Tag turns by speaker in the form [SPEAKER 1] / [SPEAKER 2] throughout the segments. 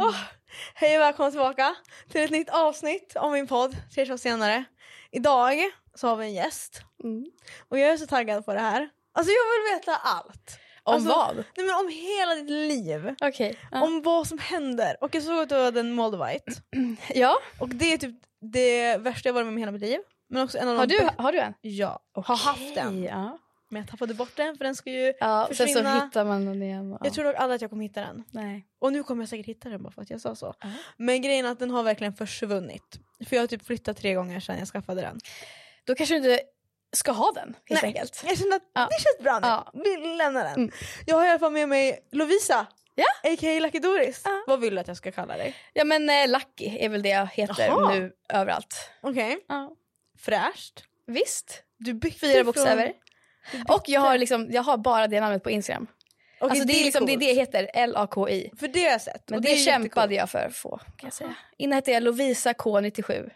[SPEAKER 1] Åh, hej och välkomna tillbaka till ett nytt avsnitt av min podd Tre shots senare. Idag så har vi en gäst
[SPEAKER 2] Mm.
[SPEAKER 1] och jag är så taggad på det här. Alltså jag vill veta allt.
[SPEAKER 2] Om
[SPEAKER 1] alltså,
[SPEAKER 2] vad?
[SPEAKER 1] Nej men om hela ditt liv.
[SPEAKER 2] Okej. ja.
[SPEAKER 1] Om vad som händer. Och jag såg att du hade en Moldavite.
[SPEAKER 2] ja.
[SPEAKER 1] Och det är typ det värsta jag varit med om i hela mitt liv. Men också en av
[SPEAKER 2] Har
[SPEAKER 1] de
[SPEAKER 2] du,
[SPEAKER 1] bä-
[SPEAKER 2] har du en?
[SPEAKER 1] Ja, har haft den.
[SPEAKER 2] Ja.
[SPEAKER 1] Men jag tappade bort den för den ska ju
[SPEAKER 2] ja och sen så
[SPEAKER 1] försvinna.
[SPEAKER 2] hittar man den igen. och- Ja.
[SPEAKER 1] Jag tror dock aldrig att jag kommer hitta den.
[SPEAKER 2] Nej.
[SPEAKER 1] Och nu kommer jag säkert hitta den bara för att jag sa så.
[SPEAKER 2] Ja.
[SPEAKER 1] Men grejen är att den har verkligen försvunnit. För jag har typ flyttat tre gånger sedan jag skaffade den.
[SPEAKER 2] Då kanske du inte ska ha den helt
[SPEAKER 1] Nej.
[SPEAKER 2] enkelt.
[SPEAKER 1] Jag kände att
[SPEAKER 2] Ja.
[SPEAKER 1] det känns bra nu.
[SPEAKER 2] Ja.
[SPEAKER 1] Vi lämnar den.
[SPEAKER 2] Mm.
[SPEAKER 1] Jag har i alla fall med mig Lovisa.
[SPEAKER 2] Ja.
[SPEAKER 1] A.k.a. Lucky Doris.
[SPEAKER 2] Ja.
[SPEAKER 1] Vad vill du att jag ska kalla dig?
[SPEAKER 2] Ja men eh, Lucky är väl det jag heter
[SPEAKER 1] Jaha.
[SPEAKER 2] nu överallt.
[SPEAKER 1] Okej.
[SPEAKER 2] Ja.
[SPEAKER 1] Fräscht.
[SPEAKER 2] Visst.
[SPEAKER 1] Du bytte
[SPEAKER 2] Fyra bokstäver. Och jag har, liksom, jag har bara det namnet på Instagram. alltså det, är liksom, det är det jag heter, L-A-K-I.
[SPEAKER 1] För det har jag sett.
[SPEAKER 2] Men
[SPEAKER 1] och
[SPEAKER 2] det,
[SPEAKER 1] är jättecoolt.
[SPEAKER 2] kämpade jag för att få kan jag säga. Innan hette jag Lovisa K97.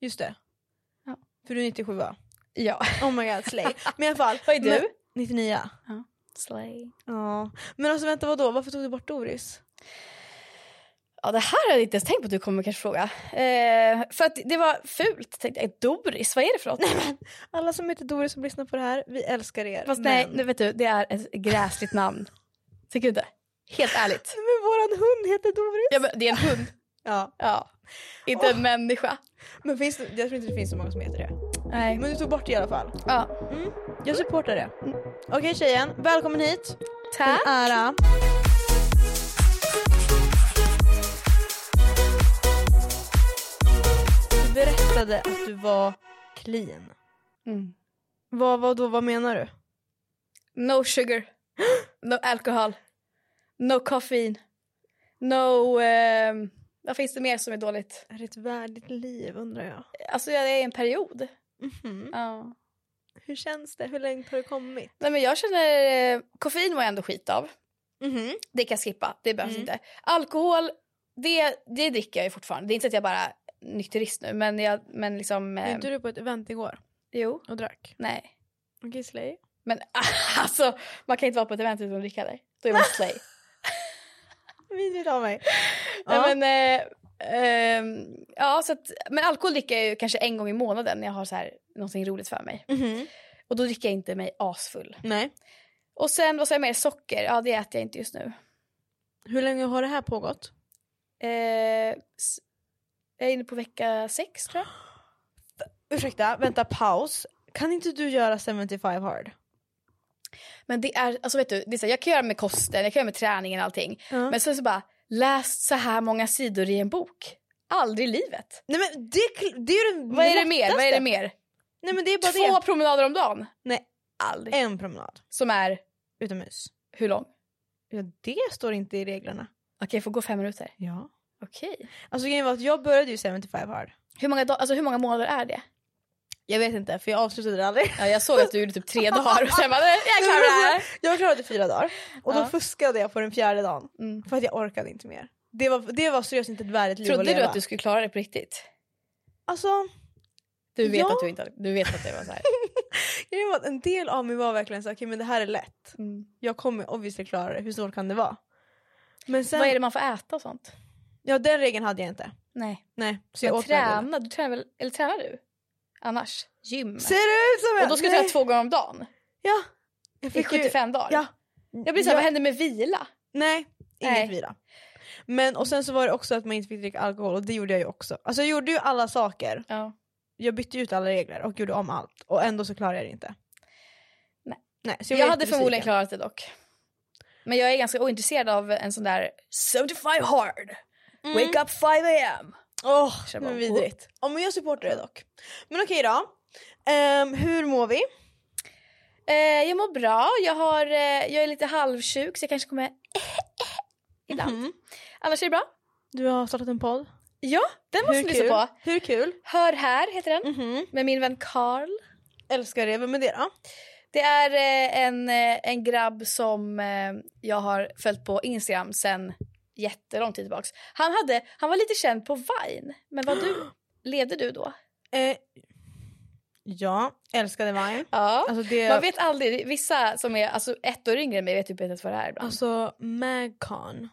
[SPEAKER 1] Just det.
[SPEAKER 2] Ja.
[SPEAKER 1] För du är 97 va?
[SPEAKER 2] Ja.
[SPEAKER 1] Oh my god, slay. Men i alla fall.
[SPEAKER 2] Vad är du?
[SPEAKER 1] Men, 99.
[SPEAKER 2] Slay.
[SPEAKER 1] Ja. Men alltså vänta vadå? Varför tog du bort Doris?
[SPEAKER 2] Ja, det här har jag inte ens tänkt på att du kommer kanske fråga. Eh, för att det var fult. Tänkte jag, Doris, vad är det för något?
[SPEAKER 1] Alla som heter Doris som lyssnar på det här, vi älskar er.
[SPEAKER 2] Fast
[SPEAKER 1] men...
[SPEAKER 2] nej, nu vet du, det är ett gräsligt namn. Tycker du inte? Helt ärligt.
[SPEAKER 1] Men våran hund heter Doris.
[SPEAKER 2] Ja, men det är en hund.
[SPEAKER 1] Ja.
[SPEAKER 2] Ja. Inte en människa.
[SPEAKER 1] Men finns det, jag tror inte det finns så många som heter det.
[SPEAKER 2] Nej.
[SPEAKER 1] Men du tog bort det i alla fall.
[SPEAKER 2] Ja.
[SPEAKER 1] Jag supportar det. Okej tjejen, välkommen hit.
[SPEAKER 2] Tack.
[SPEAKER 1] En ära. Du berättade att du var clean.
[SPEAKER 2] Mm.
[SPEAKER 1] Vad, vad då, vad menar du?
[SPEAKER 2] No sugar. No alcohol. No koffein. No... ehm, vad finns det mer som är dåligt?
[SPEAKER 1] Är det ett värdigt liv undrar jag.
[SPEAKER 2] Alltså jag är i en period.
[SPEAKER 1] Mhm.
[SPEAKER 2] Ja.
[SPEAKER 1] Hur känns det? Hur långt har du kommit?
[SPEAKER 2] Nej men jag känner... Eh, koffein var jag ändå skit av.
[SPEAKER 1] Mhm.
[SPEAKER 2] Det kan jag skippa, det behövs
[SPEAKER 1] Mm.
[SPEAKER 2] inte. Alkohol, det, det dricker jag ju fortfarande. Det är inte så att jag bara är nykterist nu men, jag, men liksom...
[SPEAKER 1] Var
[SPEAKER 2] Eh,
[SPEAKER 1] inte du på ett event igår
[SPEAKER 2] Jo,
[SPEAKER 1] och drack?
[SPEAKER 2] nej.
[SPEAKER 1] Okej slay.
[SPEAKER 2] Men alltså man kan inte vara på ett event utan att dricka eller? Då är man slay.
[SPEAKER 1] Vidrigt av mig.
[SPEAKER 2] Nej, men, eh, ehm, ja, så att, men alkohol dricker jag ju kanske en gång i månaden när jag har så här, någonting roligt för mig.
[SPEAKER 1] Mhm.
[SPEAKER 2] Och då dricker jag inte mig asfull.
[SPEAKER 1] Nej.
[SPEAKER 2] Och sen vad sa jag mer? Socker? Ja det äter jag inte just nu.
[SPEAKER 1] Hur länge har det här pågått?
[SPEAKER 2] Eh, s- jag är inne på vecka sex tror jag.
[SPEAKER 1] Ursäkta, vänta paus. Kan inte du göra 75 hard?
[SPEAKER 2] Men det är, alltså vet du, det är så här, jag kan göra med kosten, jag kan göra med träningen och allting.
[SPEAKER 1] Ja.
[SPEAKER 2] Men sen så bara, läst så här många sidor i en bok. Aldrig i livet.
[SPEAKER 1] Nej men det, är kl- det är ju det
[SPEAKER 2] Vad är det mer?
[SPEAKER 1] lättaste.
[SPEAKER 2] Vad är det mer?
[SPEAKER 1] Nej men det är bara
[SPEAKER 2] Två
[SPEAKER 1] det.
[SPEAKER 2] promenader om dagen?
[SPEAKER 1] Nej.
[SPEAKER 2] Aldrig.
[SPEAKER 1] En promenad
[SPEAKER 2] Som är,
[SPEAKER 1] utomhus.
[SPEAKER 2] hur lång?
[SPEAKER 1] Ja, det står inte i reglerna.
[SPEAKER 2] Okej, jag får gå fem minuter.
[SPEAKER 1] Ja.
[SPEAKER 2] Okej.
[SPEAKER 1] Alltså grejen var att jag började ju 75 hard.
[SPEAKER 2] Hur många, dag- alltså, hur många månader är det?
[SPEAKER 1] Jag vet inte för jag avslutade det aldrig.
[SPEAKER 2] Ja, jag såg att du gjorde typ tre dagar och sen bara, "Nej, jag klarar det här.
[SPEAKER 1] Jag klarade fyra dagar och då
[SPEAKER 2] Ja.
[SPEAKER 1] fuskade jag på den fjärde dagen
[SPEAKER 2] Mm.
[SPEAKER 1] för att jag orkade inte mer. Det var, det var seriöst inte ett värdigt liv att
[SPEAKER 2] Trodde
[SPEAKER 1] leva.
[SPEAKER 2] du att du skulle klara det på riktigt?
[SPEAKER 1] Alltså
[SPEAKER 2] Du vet
[SPEAKER 1] Ja.
[SPEAKER 2] att du inte hade- du vet att det var så här.
[SPEAKER 1] grejen var att en del av mig var verkligen så okej men det här är lätt.
[SPEAKER 2] Mm.
[SPEAKER 1] Jag kommer obviously klara det, hur svårt kan det vara? Men sen,
[SPEAKER 2] Vad är det man får äta och sånt?
[SPEAKER 1] ja den regeln hade jag inte.
[SPEAKER 2] Nej.
[SPEAKER 1] Nej, så jag
[SPEAKER 2] Men
[SPEAKER 1] åt den här delen.
[SPEAKER 2] träna, du tränar väl, eller tränar du? Annars? Gym?
[SPEAKER 1] Ser det ut som
[SPEAKER 2] Och då ska du
[SPEAKER 1] Nej.
[SPEAKER 2] träna två gånger om dagen
[SPEAKER 1] Ja. Jag
[SPEAKER 2] i
[SPEAKER 1] fick ju-
[SPEAKER 2] 75 dagar.
[SPEAKER 1] Ja.
[SPEAKER 2] Jag blir såhär,
[SPEAKER 1] Ja.
[SPEAKER 2] vad händer med vila?
[SPEAKER 1] Nej, inget
[SPEAKER 2] Nej.
[SPEAKER 1] vila. Men och sen så var det också att man inte fick dricka alkohol och det gjorde jag ju också. Alltså jag gjorde ju alla saker.
[SPEAKER 2] Ja.
[SPEAKER 1] Jag bytte ut alla regler och gjorde om allt och ändå så klarade jag det inte.
[SPEAKER 2] Nej.
[SPEAKER 1] Nej så
[SPEAKER 2] Jag,
[SPEAKER 1] jag var
[SPEAKER 2] hade förmodligen
[SPEAKER 1] jättebesviken.
[SPEAKER 2] klarat det dock. Men jag är ganska ointresserad av en sån där 75 hard,
[SPEAKER 1] Mm.
[SPEAKER 2] wake up 5 am.
[SPEAKER 1] Åh,
[SPEAKER 2] Känner
[SPEAKER 1] det var
[SPEAKER 2] bara,
[SPEAKER 1] vidrigt. Ja men jag supportar det dock. Men okej då. Ehm, hur mår vi?
[SPEAKER 2] Eh, jag mår bra, jag, har, eh, jag är lite halvsjuk så jag kanske kommer Ibland.
[SPEAKER 1] Mm-hmm.
[SPEAKER 2] Annars är det bra.
[SPEAKER 1] Mm. Du har startat en podd.
[SPEAKER 2] Ja, den måste
[SPEAKER 1] Hur
[SPEAKER 2] ni lyssna
[SPEAKER 1] kul?
[SPEAKER 2] på. Mm-hmm.
[SPEAKER 1] Hur kul?
[SPEAKER 2] Hör här heter den.
[SPEAKER 1] Mhm.
[SPEAKER 2] Med min vän Carl.
[SPEAKER 1] Älskar det. Vem är det då?
[SPEAKER 2] Det är eh, en, eh, en grabb som eh, jag har följt på Instagram sen jättelång tid tillbaks. Han, hade, han var lite känd på Vine. Men vad du, levde du då?
[SPEAKER 1] Eh, ja, älskade Vine.
[SPEAKER 2] Ja.
[SPEAKER 1] Alltså det...
[SPEAKER 2] Man vet aldrig. Vissa som är alltså, ett år yngre än mig vet typ inte ens vad det är ibland.
[SPEAKER 1] Alltså Magcon.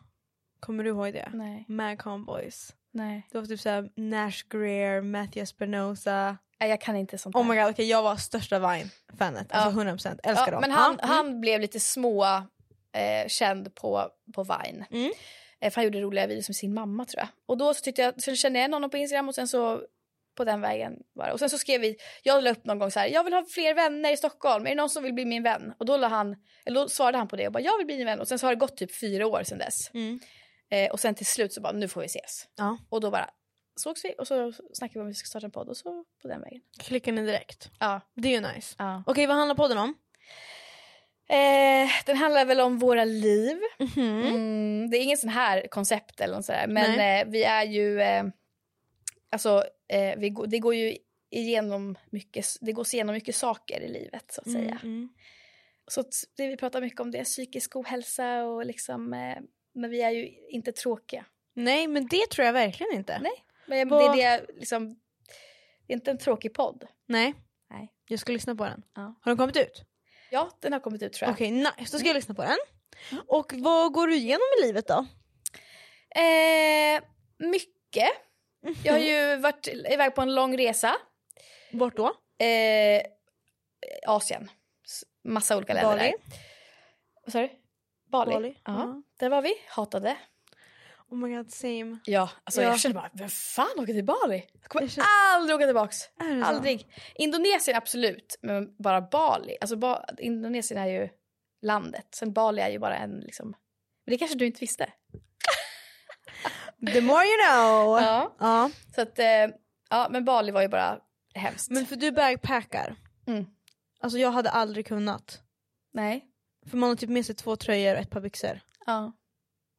[SPEAKER 1] Kommer du ihåg det?
[SPEAKER 2] Nej,
[SPEAKER 1] Magcon boys.
[SPEAKER 2] nej.
[SPEAKER 1] Det var typ såhär Nash Greer, Matthew Espinosa.
[SPEAKER 2] Nej, Jag kan inte sånt
[SPEAKER 1] Oh my
[SPEAKER 2] där.
[SPEAKER 1] god, okej jag var största Vine-fanet. Alltså
[SPEAKER 2] Ja.
[SPEAKER 1] 100%. Älskar
[SPEAKER 2] ja,
[SPEAKER 1] dem.
[SPEAKER 2] Men han,
[SPEAKER 1] Ja, mm.
[SPEAKER 2] han blev lite små eh, känd på, på Vine.
[SPEAKER 1] Mm.
[SPEAKER 2] Eh, för han gjorde roliga videos med sin mamma tror jag. Och då så tyckte jag, så kände jag någon på Instagram och sen så på den vägen var det. Och sen så skrev vi, jag la upp någon gång så här, jag vill ha fler vänner i Stockholm, är det någon som vill bli min vän? Och då, la han, eller då svarade han på det och bara, jag vill bli din vän. Och sen så har det gått typ fyra år sedan dess.
[SPEAKER 1] Mm.
[SPEAKER 2] Eh, och sen till slut så bara, nu får vi ses.
[SPEAKER 1] Ja.
[SPEAKER 2] Och då bara sågs vi och så snackade vi om vi ska starta en podd och så på den vägen.
[SPEAKER 1] Klickar ni direkt?
[SPEAKER 2] Ja.
[SPEAKER 1] Det är ju nice.
[SPEAKER 2] ja.
[SPEAKER 1] Okej, vad handlar podden om?
[SPEAKER 2] Eh, den handlar väl om våra liv.
[SPEAKER 1] Mhm.
[SPEAKER 2] Mm, det är ingen sån här koncept eller något sådär. Men
[SPEAKER 1] Nej.
[SPEAKER 2] eh, vi är ju... Eh, alltså, eh, vi går, det går ju igenom mycket, det går sig igenom mycket saker i livet så att säga.
[SPEAKER 1] Mm,
[SPEAKER 2] Så att det vi pratar mycket om det är psykisk ohälsa och liksom... Eh, men vi är ju inte tråkiga.
[SPEAKER 1] Nej, men det tror jag verkligen inte.
[SPEAKER 2] Nej. Men jag-
[SPEAKER 1] Vad-
[SPEAKER 2] det är det, jag liksom... Det är inte en tråkig podd.
[SPEAKER 1] Nej.
[SPEAKER 2] Nej.
[SPEAKER 1] Jag ska lyssna på den.
[SPEAKER 2] Ja.
[SPEAKER 1] Har den kommit ut?
[SPEAKER 2] Ja, den har kommit ut tror jag.
[SPEAKER 1] Okej, nice. Då
[SPEAKER 2] Mm.
[SPEAKER 1] ska jag lyssna på den. Och vad går du igenom i livet då?
[SPEAKER 2] Eh, mycket. Jag har
[SPEAKER 1] Mm.
[SPEAKER 2] ju varit iväg på en lång resa.
[SPEAKER 1] Vart då?
[SPEAKER 2] Eh, Asien. S- Massa olika länder
[SPEAKER 1] Bali.
[SPEAKER 2] där. Vad sa du? Bali.
[SPEAKER 1] Bali,
[SPEAKER 2] Ja,
[SPEAKER 1] ja.
[SPEAKER 2] där var vi. Hatade.
[SPEAKER 1] Oh my god, same.
[SPEAKER 2] Ja, alltså
[SPEAKER 1] Ja.
[SPEAKER 2] jag kände bara, vem fan åker till Bali? Jag kommer
[SPEAKER 1] Jag känner-
[SPEAKER 2] aldrig åka tillbaks.
[SPEAKER 1] Är det så?
[SPEAKER 2] Aldrig. Indonesien absolut, men bara Bali. Alltså ba- Indonesien är ju landet. Sen Bali är ju bara en liksom... Men det kanske du inte visste?
[SPEAKER 1] The more you know.
[SPEAKER 2] Ja.
[SPEAKER 1] Ja.
[SPEAKER 2] Så att, eh, ja men Bali var ju bara hemskt.
[SPEAKER 1] Men för du backpackar.
[SPEAKER 2] Mm.
[SPEAKER 1] Alltså jag hade aldrig kunnat.
[SPEAKER 2] Nej.
[SPEAKER 1] För man har typ med sig två tröjor och ett par byxor.
[SPEAKER 2] Ja.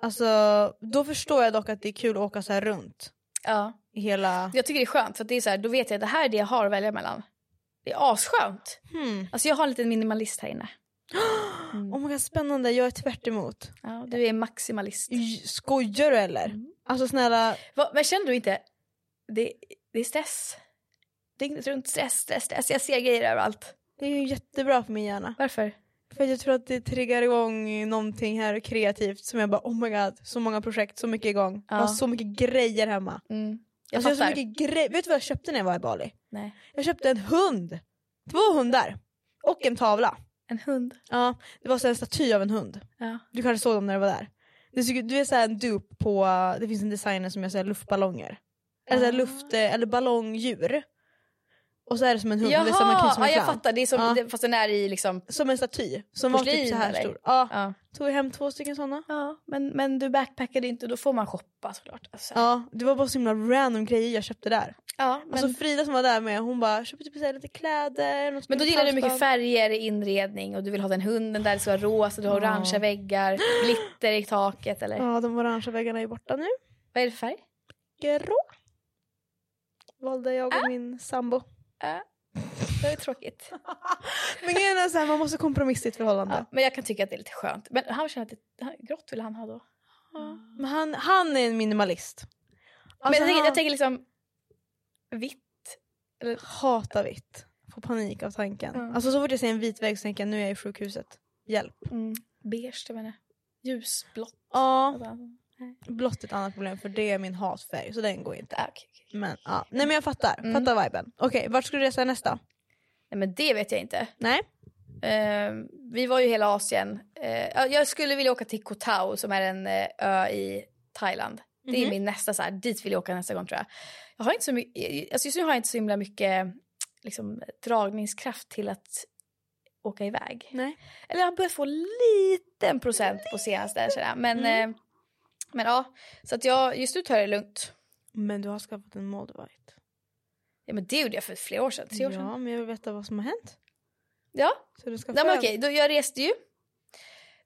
[SPEAKER 1] Alltså då förstår jag dock att det är kul att åka så här runt.
[SPEAKER 2] ja.
[SPEAKER 1] I hela...
[SPEAKER 2] Jag tycker det är skönt för att det är så här, då vet jag att det här är det jag har att välja mellan. Det är asskönt.
[SPEAKER 1] Hmm.
[SPEAKER 2] Alltså jag har en liten minimalist här inne. Mm.
[SPEAKER 1] Oh my god spännande, jag är tvärt emot.
[SPEAKER 2] Ja, du är maximalist.
[SPEAKER 1] J- Skojar du eller?
[SPEAKER 2] Mm.
[SPEAKER 1] Alltså snälla,
[SPEAKER 2] Va, men känner du inte, det, det är stress. Dygnet runt stress, stress, stress. Jag ser grejer överallt.
[SPEAKER 1] det är ju jättebra för min hjärna.
[SPEAKER 2] Varför?
[SPEAKER 1] För att jag tror att det triggar igång någonting här kreativt som jag bara oh my god, så många projekt, så mycket igång.
[SPEAKER 2] Ja.
[SPEAKER 1] Jag har så mycket grejer hemma.
[SPEAKER 2] Mm. Jag
[SPEAKER 1] Jag, alltså, jag har
[SPEAKER 2] fattar.
[SPEAKER 1] så mycket grejer. Vet du vad jag köpte när jag var i Bali?
[SPEAKER 2] Nej.
[SPEAKER 1] Jag köpte en hund! Två hundar! Och en tavla.
[SPEAKER 2] En hund.
[SPEAKER 1] Ja, det var så här en staty av en hund.
[SPEAKER 2] Ja.
[SPEAKER 1] Du kanske såg dem när du var där. Det såg ut- Du är så här en dupe på, det finns en designer som gör så här luftballonger. Eller så här
[SPEAKER 2] Ah.
[SPEAKER 1] luft, eh, eller ballongdjur. Och så är det som en hund,
[SPEAKER 2] Jaha,
[SPEAKER 1] det är samma kniv som en
[SPEAKER 2] ja, jag
[SPEAKER 1] clown.
[SPEAKER 2] fattar. Det är som,
[SPEAKER 1] Ja.
[SPEAKER 2] det, fast den är i liksom...
[SPEAKER 1] Som en staty, som var
[SPEAKER 2] Porslin,
[SPEAKER 1] typ så här
[SPEAKER 2] eller?
[SPEAKER 1] stor. Ja,
[SPEAKER 2] Ja.
[SPEAKER 1] tog jag hem två stycken sådana.
[SPEAKER 2] Ja, men, men du backpackade inte och då får man shoppa såklart. Alltså,
[SPEAKER 1] Ja, det var bara så himla random grejer jag köpte där.
[SPEAKER 2] ja, men,
[SPEAKER 1] Alltså Frida som var där med, hon bara köpte typ så här lite kläder. Något
[SPEAKER 2] men då gillar du mycket
[SPEAKER 1] halsband.
[SPEAKER 2] färger i inredning och du vill ha den hunden där det ska vara rosa, du har
[SPEAKER 1] Ja.
[SPEAKER 2] orangea väggar, glitter i taket eller...
[SPEAKER 1] Ja, de orangea väggarna är borta nu.
[SPEAKER 2] Vad är det för färg?
[SPEAKER 1] Grå. Valde jag
[SPEAKER 2] Ah.
[SPEAKER 1] och min sambo.
[SPEAKER 2] Det är tråkigt.
[SPEAKER 1] Men grejen är så här, man måste kompromissa i ett förhållande.
[SPEAKER 2] Ja, men jag kan tycka att det är lite skönt. Men han känner att det, det här- grått vill han ha då.
[SPEAKER 1] Men han, han är en minimalist.
[SPEAKER 2] men
[SPEAKER 1] Alltså,
[SPEAKER 2] jag, tänker,
[SPEAKER 1] han
[SPEAKER 2] jag tänker liksom vitt.
[SPEAKER 1] hatar vitt. Får panik av tanken.
[SPEAKER 2] Mm.
[SPEAKER 1] Alltså så fort jag ser en vit vägg så tänker jag nu är jag i sjukhuset. Hjälp.
[SPEAKER 2] Mm. Beige, jag menar. Ljusblått.
[SPEAKER 1] Ja,
[SPEAKER 2] Alltså,
[SPEAKER 1] blått är ett annat problem för det är min hatfärg så den går inte.
[SPEAKER 2] ah, okej, okej.
[SPEAKER 1] Men ja, nej men jag fattar.
[SPEAKER 2] Mm.
[SPEAKER 1] Fattar viben. Okej, vart ska du resa nästa?
[SPEAKER 2] Nej men det vet jag inte.
[SPEAKER 1] Nej?
[SPEAKER 2] Eh, vi var ju hela Asien. Eh, ja, jag skulle vilja åka till Koh Tao som är en eh, ö i Thailand. Det är
[SPEAKER 1] Mhm.
[SPEAKER 2] min nästa så här, dit vill jag åka nästa gång tror jag. Jag har inte så mycket, alltså just nu har jag inte så himla mycket liksom, dragningskraft till att åka iväg.
[SPEAKER 1] Nej.
[SPEAKER 2] Eller jag har börjat få liten procent på senaste känner jag. Men,
[SPEAKER 1] Mm.
[SPEAKER 2] eh, men ja, så att jag, just nu tar jag det lugnt.
[SPEAKER 1] Men du har skaffat en modevite.
[SPEAKER 2] Ja, men det gjorde jag för flera år sedan, tre år sedan.
[SPEAKER 1] Ja, men jag vill veta vad som har hänt.
[SPEAKER 2] Ja,
[SPEAKER 1] Så du ska Mhm. Mm.
[SPEAKER 2] Nej, men okej, då, jag reste ju.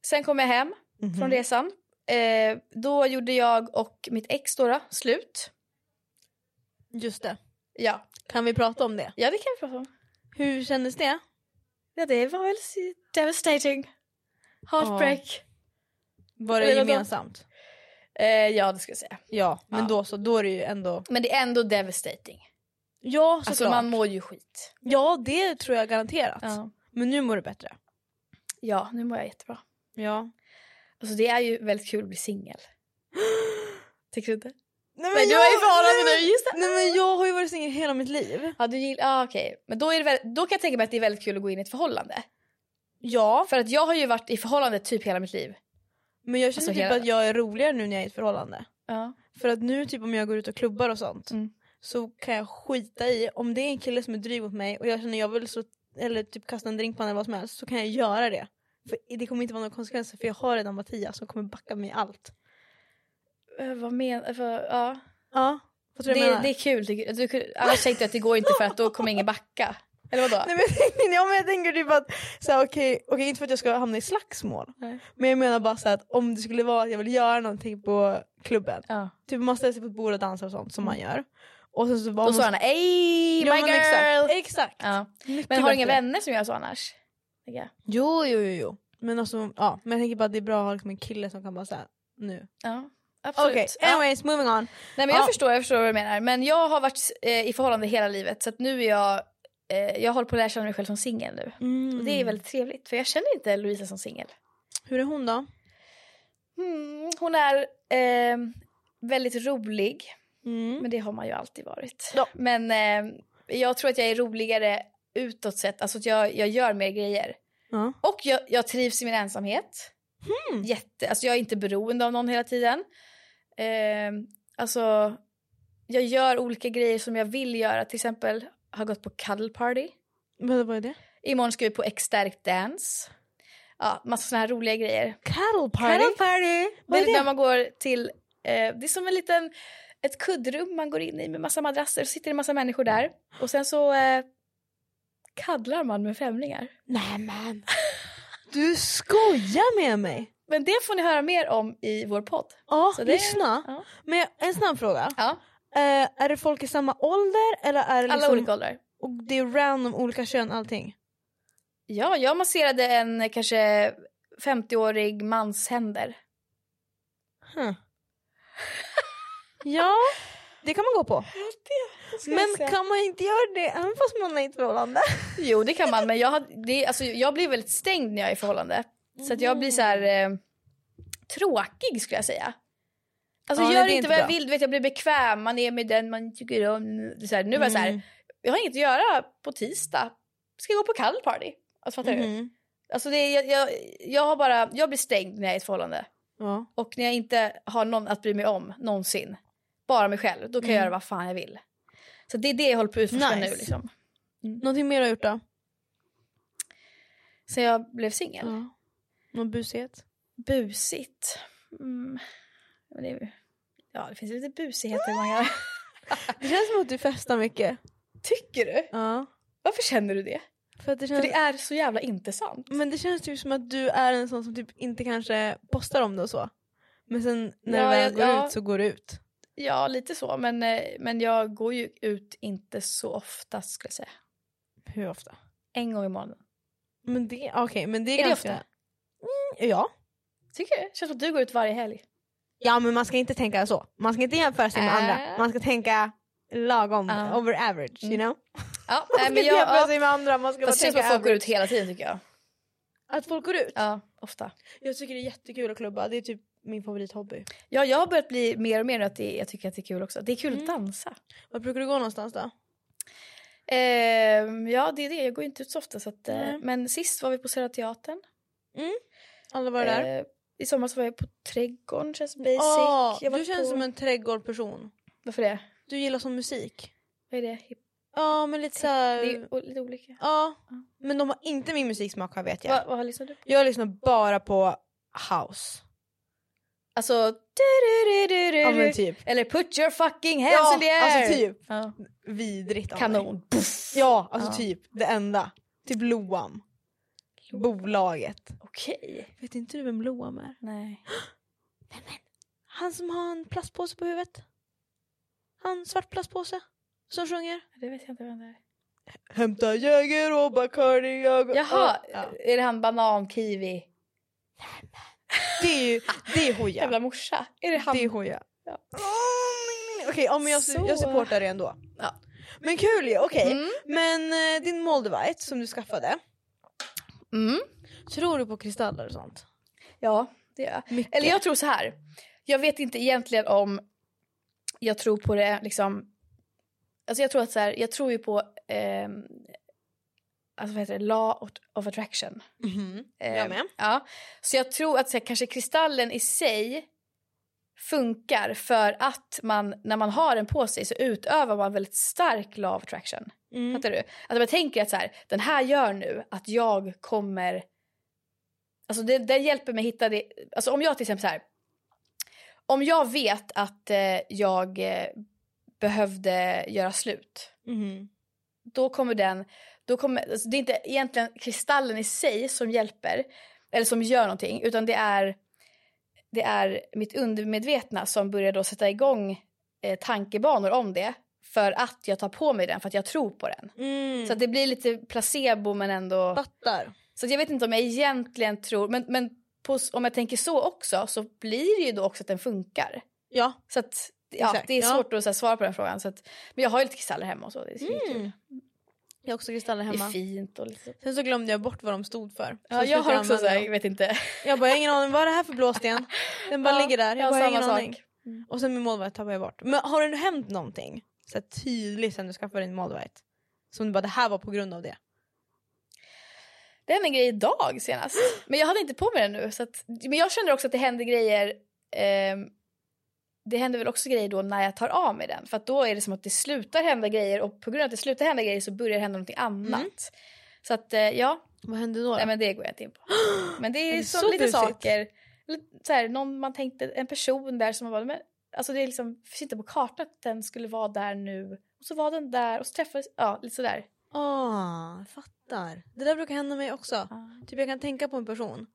[SPEAKER 2] Sen kom jag hem från resan. Eh, då gjorde jag och mitt ex då, då slut.
[SPEAKER 1] Just det.
[SPEAKER 2] Ja.
[SPEAKER 1] Kan vi prata om det?
[SPEAKER 2] ja, det kan vi prata om.
[SPEAKER 1] Hur kändes det?
[SPEAKER 2] Ja, det var väl si- devastating. Heartbreak.
[SPEAKER 1] Var det
[SPEAKER 2] Eller då?
[SPEAKER 1] gemensamt?
[SPEAKER 2] Eh, ja, det ska jag säga.
[SPEAKER 1] Ja, men
[SPEAKER 2] Ja.
[SPEAKER 1] då så. Då är det ju ändå...
[SPEAKER 2] Men det är ändå devastating.
[SPEAKER 1] Ja, såklart.
[SPEAKER 2] Alltså man mår ju skit.
[SPEAKER 1] Ja, det tror jag garanterat.
[SPEAKER 2] Ja.
[SPEAKER 1] Men nu mår du bättre.
[SPEAKER 2] ja, nu mår jag jättebra.
[SPEAKER 1] Ja.
[SPEAKER 2] Alltså det är ju väldigt kul att bli singel. Tycker du inte?
[SPEAKER 1] Nej,
[SPEAKER 2] men jag- nej, men-
[SPEAKER 1] Nej men jag har ju varit singel hela mitt liv.
[SPEAKER 2] Ja, du gillar, ah, okej. Men då, är det väl, då kan jag tänka mig att det är väldigt kul att gå in i ett förhållande.
[SPEAKER 1] Ja,
[SPEAKER 2] För att jag har ju varit i förhållande typ hela mitt liv.
[SPEAKER 1] men jag känner
[SPEAKER 2] Alltså,
[SPEAKER 1] typ
[SPEAKER 2] hela-
[SPEAKER 1] att jag är roligare nu när jag är i ett förhållande.
[SPEAKER 2] Ja.
[SPEAKER 1] För att nu typ om jag går ut och klubbar och sånt
[SPEAKER 2] Mm.
[SPEAKER 1] så kan jag skita i om det är en kille som är dryg mot mig och jag känner jag vill så eller typ kasta en drink på honom eller vad som helst så kan jag göra det. För det kommer inte vara några konsekvenser för jag har redan Mattias som kommer backa mig i allt.
[SPEAKER 2] Eh, Vad menar för, ja.
[SPEAKER 1] Ja, fattar du vad jag
[SPEAKER 2] det,
[SPEAKER 1] menar?
[SPEAKER 2] det är kul. tycker- Du, kunde- annars tänkte jag att det går inte för att då kommer ingen backa. Eller vadå?
[SPEAKER 1] Nej, men, jag tänker- ja, men jag tänker typ att, så här, okej, okej inte för att jag ska hamna i slagsmål
[SPEAKER 2] Nej.
[SPEAKER 1] men jag menar bara så här, att om det skulle vara att jag vill göra någonting på klubben,
[SPEAKER 2] Ja. Mm.
[SPEAKER 1] typ man ställer sig på ett bord och dansar och sånt som man gör. Och sen så var
[SPEAKER 2] Då sa han ej, my
[SPEAKER 1] ja, men
[SPEAKER 2] girl!
[SPEAKER 1] Exakt. exakt.
[SPEAKER 2] Ja.
[SPEAKER 1] Mycket
[SPEAKER 2] Men har du
[SPEAKER 1] bättre.
[SPEAKER 2] inga vänner som gör så annars? tänker jag.
[SPEAKER 1] Jo, jo, jo, jo. Men, alltså, ja. men jag tänker bara att det är bra att ha liksom en kille som kan bara säga nu.
[SPEAKER 2] Ja, absolut.
[SPEAKER 1] Okej,
[SPEAKER 2] Ja.
[SPEAKER 1] anyways, moving on.
[SPEAKER 2] Nej, men jag,
[SPEAKER 1] Ja.
[SPEAKER 2] förstår, jag förstår vad du menar. Men jag har varit eh, i förhållande hela livet så att nu är jag, eh, jag håller på att lära känna mig själv som singel nu.
[SPEAKER 1] Mm.
[SPEAKER 2] Och det är väldigt trevligt för jag känner inte Louisa som singel.
[SPEAKER 1] Hur är hon då?
[SPEAKER 2] Mm, hon är eh, väldigt rolig,
[SPEAKER 1] Mm.
[SPEAKER 2] men det har man ju alltid varit.
[SPEAKER 1] Ja.
[SPEAKER 2] Men eh, jag tror att jag är roligare utåt sett, alltså att jag, jag gör mer grejer.
[SPEAKER 1] Ja.
[SPEAKER 2] Och jag, jag trivs i min ensamhet.
[SPEAKER 1] Hmm.
[SPEAKER 2] Jätte, alltså jag är inte beroende av någon hela tiden. Eh, alltså, jag gör olika grejer som jag vill göra. Till exempel har gått på cuddle party.
[SPEAKER 1] Vad vad är det?
[SPEAKER 2] Imorgon ska vi på extärkt dance. Ja, massa såna här roliga grejer.
[SPEAKER 1] Cattle
[SPEAKER 2] Cuddle
[SPEAKER 1] party?
[SPEAKER 2] party!
[SPEAKER 1] Vad är
[SPEAKER 2] det är
[SPEAKER 1] det?
[SPEAKER 2] när man går till, eh, det är som en liten, ett kuddrum man går in i med massa madrasser. Så sitter det en massa människor där. Och sen så eh, kaddlar man med främlingar.
[SPEAKER 1] Nej men. Du skojar med mig!
[SPEAKER 2] Men det får ni höra mer om i vår podd.
[SPEAKER 1] Ja,
[SPEAKER 2] Så det-
[SPEAKER 1] lyssna.
[SPEAKER 2] Ja.
[SPEAKER 1] Men jag- en snabb fråga.
[SPEAKER 2] Ja,
[SPEAKER 1] Eh, är det folk i samma ålder eller är det
[SPEAKER 2] alla
[SPEAKER 1] liksom...
[SPEAKER 2] olika åldrar.
[SPEAKER 1] Och det är random olika kön allting?
[SPEAKER 2] Ja, jag masserade en eh, kanske 50-årig mans händer.
[SPEAKER 1] Ja, det kan man gå på. Men
[SPEAKER 2] Men
[SPEAKER 1] kan man inte göra det även fast man är i ett förhållande?
[SPEAKER 2] Jo, det kan man. Men jag, hade- det, alltså, jag blir väldigt stängd när jag är i förhållande. Så att jag blir så här eh, tråkig skulle jag säga. Alltså
[SPEAKER 1] Ja, nej,
[SPEAKER 2] gör
[SPEAKER 1] det är
[SPEAKER 2] inte,
[SPEAKER 1] inte
[SPEAKER 2] vad jag
[SPEAKER 1] bra.
[SPEAKER 2] vill, du vet jag blir bekväm, man är med den man tycker om. Det är Så här, nu var jag så här,
[SPEAKER 1] Mm.
[SPEAKER 2] jag har inget att göra på tisdag. Ska jag gå på kall party? Alltså fattar du?
[SPEAKER 1] Mhm.
[SPEAKER 2] Alltså det, är- jag, jag, jag har bara, jag blir stängd när jag är i ett förhållande.
[SPEAKER 1] Ja.
[SPEAKER 2] Och när jag inte har någon att bry mig om någonsin, bara mig själv, då kan jag
[SPEAKER 1] Mm.
[SPEAKER 2] göra vad fan jag vill. Så det är det jag håller på att utforska
[SPEAKER 1] Nice.
[SPEAKER 2] nu. Liksom.
[SPEAKER 1] Någonting mer du har gjort då?
[SPEAKER 2] Sen jag blev singel.
[SPEAKER 1] Någon busighet?
[SPEAKER 2] Busigt. Mm. Men det, är ju- ja, det finns lite busigheter man gör.
[SPEAKER 1] Det känns som att du festar mycket.
[SPEAKER 2] Tycker du?
[SPEAKER 1] Ja.
[SPEAKER 2] Varför känner du det?
[SPEAKER 1] För att det
[SPEAKER 2] För
[SPEAKER 1] känns,
[SPEAKER 2] det är så jävla inte sant.
[SPEAKER 1] Men det känns typ som att du är en sån som typ inte kanske postar om det och så. Men sen när
[SPEAKER 2] Ja,
[SPEAKER 1] det
[SPEAKER 2] jag-
[SPEAKER 1] väl går
[SPEAKER 2] ja.
[SPEAKER 1] ut så går det ut.
[SPEAKER 2] Ja, lite så. Men, eh, men jag går ju ut inte så ofta skulle jag säga.
[SPEAKER 1] Hur ofta?
[SPEAKER 2] En gång i månaden.
[SPEAKER 1] Men det, okej men det är,
[SPEAKER 2] Är det
[SPEAKER 1] ganska...
[SPEAKER 2] ofta?
[SPEAKER 1] Mm, ja.
[SPEAKER 2] Tycker du? Känns som att du går ut varje helg.
[SPEAKER 1] Ja men man ska inte tänka så. Man ska inte jämföra sig med
[SPEAKER 2] Äh.
[SPEAKER 1] andra. Man ska tänka lagom,
[SPEAKER 2] Ja.
[SPEAKER 1] over average you
[SPEAKER 2] Mm.
[SPEAKER 1] know.
[SPEAKER 2] Ja,
[SPEAKER 1] Man
[SPEAKER 2] nej,
[SPEAKER 1] ska
[SPEAKER 2] men
[SPEAKER 1] inte
[SPEAKER 2] jag...
[SPEAKER 1] jämföra
[SPEAKER 2] Ja,
[SPEAKER 1] sig med andra, man ska bara
[SPEAKER 2] fast det känns som
[SPEAKER 1] tänka
[SPEAKER 2] att folk går
[SPEAKER 1] average.
[SPEAKER 2] ut hela tiden tycker jag.
[SPEAKER 1] Att folk går ut?
[SPEAKER 2] Ja, ofta.
[SPEAKER 1] Jag tycker det är jättekul att klubba, det är typ min favorithobby.
[SPEAKER 2] Ja, jag har börjat bli mer och mer nu att det, jag tycker att det är kul också. Det är kul att dansa.
[SPEAKER 1] Var brukar du gå någonstans då?
[SPEAKER 2] Ehm, ja, det är det. Jag går ju inte ut så ofta. Så att, eh,
[SPEAKER 1] Nej.
[SPEAKER 2] men sist var vi på Södra Teatern.
[SPEAKER 1] Alla var där?
[SPEAKER 2] Ehm, I somras var jag på Trädgården, känns basic.
[SPEAKER 1] Ja,
[SPEAKER 2] jag var
[SPEAKER 1] Ah, du känns
[SPEAKER 2] på...
[SPEAKER 1] som en trädgårdperson.
[SPEAKER 2] Varför det?
[SPEAKER 1] Du gillar som musik.
[SPEAKER 2] Vad är det? Hip-
[SPEAKER 1] Ja, men lite
[SPEAKER 2] det är
[SPEAKER 1] såhär...
[SPEAKER 2] ju o- lite olika.
[SPEAKER 1] Ja, men de har inte min musiksmak här vet jag.
[SPEAKER 2] Vad, vad lyssnar du på?
[SPEAKER 1] Jag lyssnar bara på house.
[SPEAKER 2] Alltså...
[SPEAKER 1] Ja men typ.
[SPEAKER 2] Eller put your fucking hands
[SPEAKER 1] Ja,
[SPEAKER 2] in the air!
[SPEAKER 1] alltså typ.
[SPEAKER 2] Ja.
[SPEAKER 1] Vidrigt av mig.
[SPEAKER 2] Kanon.
[SPEAKER 1] Ja, alltså
[SPEAKER 2] Ja.
[SPEAKER 1] typ det enda. Typ Loam. Bolaget.
[SPEAKER 2] Okej.
[SPEAKER 1] Vet inte du vem Loam är?
[SPEAKER 2] Nej.
[SPEAKER 1] Den Han som har en plastpåse på huvudet. Han, svart plastpåse. Som sjunger.
[SPEAKER 2] Det vet jag inte vem det är.
[SPEAKER 1] Hämta Jäger och Bacardi jag...
[SPEAKER 2] Jaha,
[SPEAKER 1] Ja.
[SPEAKER 2] är det han banan, kiwi?
[SPEAKER 1] Det är ju, det är hoja.
[SPEAKER 2] Jävla morsa. Är det han?
[SPEAKER 1] Det är hoja.
[SPEAKER 2] Ja.
[SPEAKER 1] Åh, nej, nej, nej. Okej, ja, men jag,
[SPEAKER 2] Så.
[SPEAKER 1] jag supportar det ändå.
[SPEAKER 2] Ja.
[SPEAKER 1] Men kul ju, okej.
[SPEAKER 2] Mm.
[SPEAKER 1] Men eh, din Moldavite som du skaffade,
[SPEAKER 2] Mm.
[SPEAKER 1] tror du på kristaller och sånt?
[SPEAKER 2] Ja, det gör jag.
[SPEAKER 1] Mycket.
[SPEAKER 2] Eller jag tror så här. Jag vet inte egentligen om jag tror på det liksom. Alltså jag tror att så här, jag tror ju på ehm, alltså vad heter det, law of attraction.
[SPEAKER 1] Mhm.
[SPEAKER 2] Eh,
[SPEAKER 1] Jag med.
[SPEAKER 2] Ja. Så jag tror att så här, kanske kristallen i sig funkar för att man när man har den på sig så utövar man väldigt stark law of attraction.
[SPEAKER 1] Mm.
[SPEAKER 2] Fattar du? Alltså jag tänker att så här, den här gör nu att jag kommer... Alltså det, det hjälper mig hitta det... Alltså om jag till exempel så här... Om jag vet att eh, jag eh, behövde göra slut,
[SPEAKER 1] Mhm.
[SPEAKER 2] då kommer den... Då kommer, alltså det är inte egentligen kristallen i sig som hjälper, eller som gör någonting, utan det är, det är mitt undermedvetna som börjar då sätta igång eh, tankebanor om det för att jag tar på mig den, för att jag tror på den.
[SPEAKER 1] Mm.
[SPEAKER 2] Så att det blir lite placebo men ändå...
[SPEAKER 1] Fattar.
[SPEAKER 2] Så att jag vet inte om jag egentligen tror... Men, men på, om jag tänker så också så blir det ju då också att den funkar.
[SPEAKER 1] Ja.
[SPEAKER 2] Så att ja,
[SPEAKER 1] Exakt,
[SPEAKER 2] det är
[SPEAKER 1] ja.
[SPEAKER 2] svårt att så här, svara på den frågan. Så att, men jag har ju lite kristaller hemma och så. Det är, mm.
[SPEAKER 1] Jag har också kristaller
[SPEAKER 2] det är
[SPEAKER 1] hemma.
[SPEAKER 2] fint och lite så.
[SPEAKER 1] Sen så glömde jag bort vad de stod för. Så
[SPEAKER 2] Ja, jag har
[SPEAKER 1] slutade
[SPEAKER 2] också så
[SPEAKER 1] använda
[SPEAKER 2] här,
[SPEAKER 1] dem.
[SPEAKER 2] jag vet inte.
[SPEAKER 1] Jag bara, jag har ingen aning, vad är det här för blåsten? Den bara
[SPEAKER 2] Ja,
[SPEAKER 1] ligger där, jag, bara, har ingen aning.
[SPEAKER 2] sak.
[SPEAKER 1] Och sen min målvakt tappade jag bort. Men har det nu hänt någonting så här tydligt sen du skaffade din målvakt? Som du bara, det här var på grund av det.
[SPEAKER 2] Det hände en grej idag senast. Men jag hade inte på mig den nu. Så att, men jag känner också att det händer grejer. ehm, det händer väl också grejer då när jag tar av mig den. För att då är det som att det slutar hända grejer och på grund av att det slutar hända grejer så börjar det hända någonting annat. Så att eh, ja,
[SPEAKER 1] Vad hände då? då?
[SPEAKER 2] nej, men det går jag inte in på. Men det är,
[SPEAKER 1] Är det
[SPEAKER 2] så,
[SPEAKER 1] så
[SPEAKER 2] lite
[SPEAKER 1] busigt?
[SPEAKER 2] saker. lite Så här, någon man tänkte, en person där som man bara, men alltså det är liksom, finns inte på kartan att den skulle vara där nu. Och så var den där och så träffades, ja lite sådär.
[SPEAKER 1] Ah, jag fattar. Det där brukar hända mig också.
[SPEAKER 2] Ja.
[SPEAKER 1] Typ jag kan tänka på en person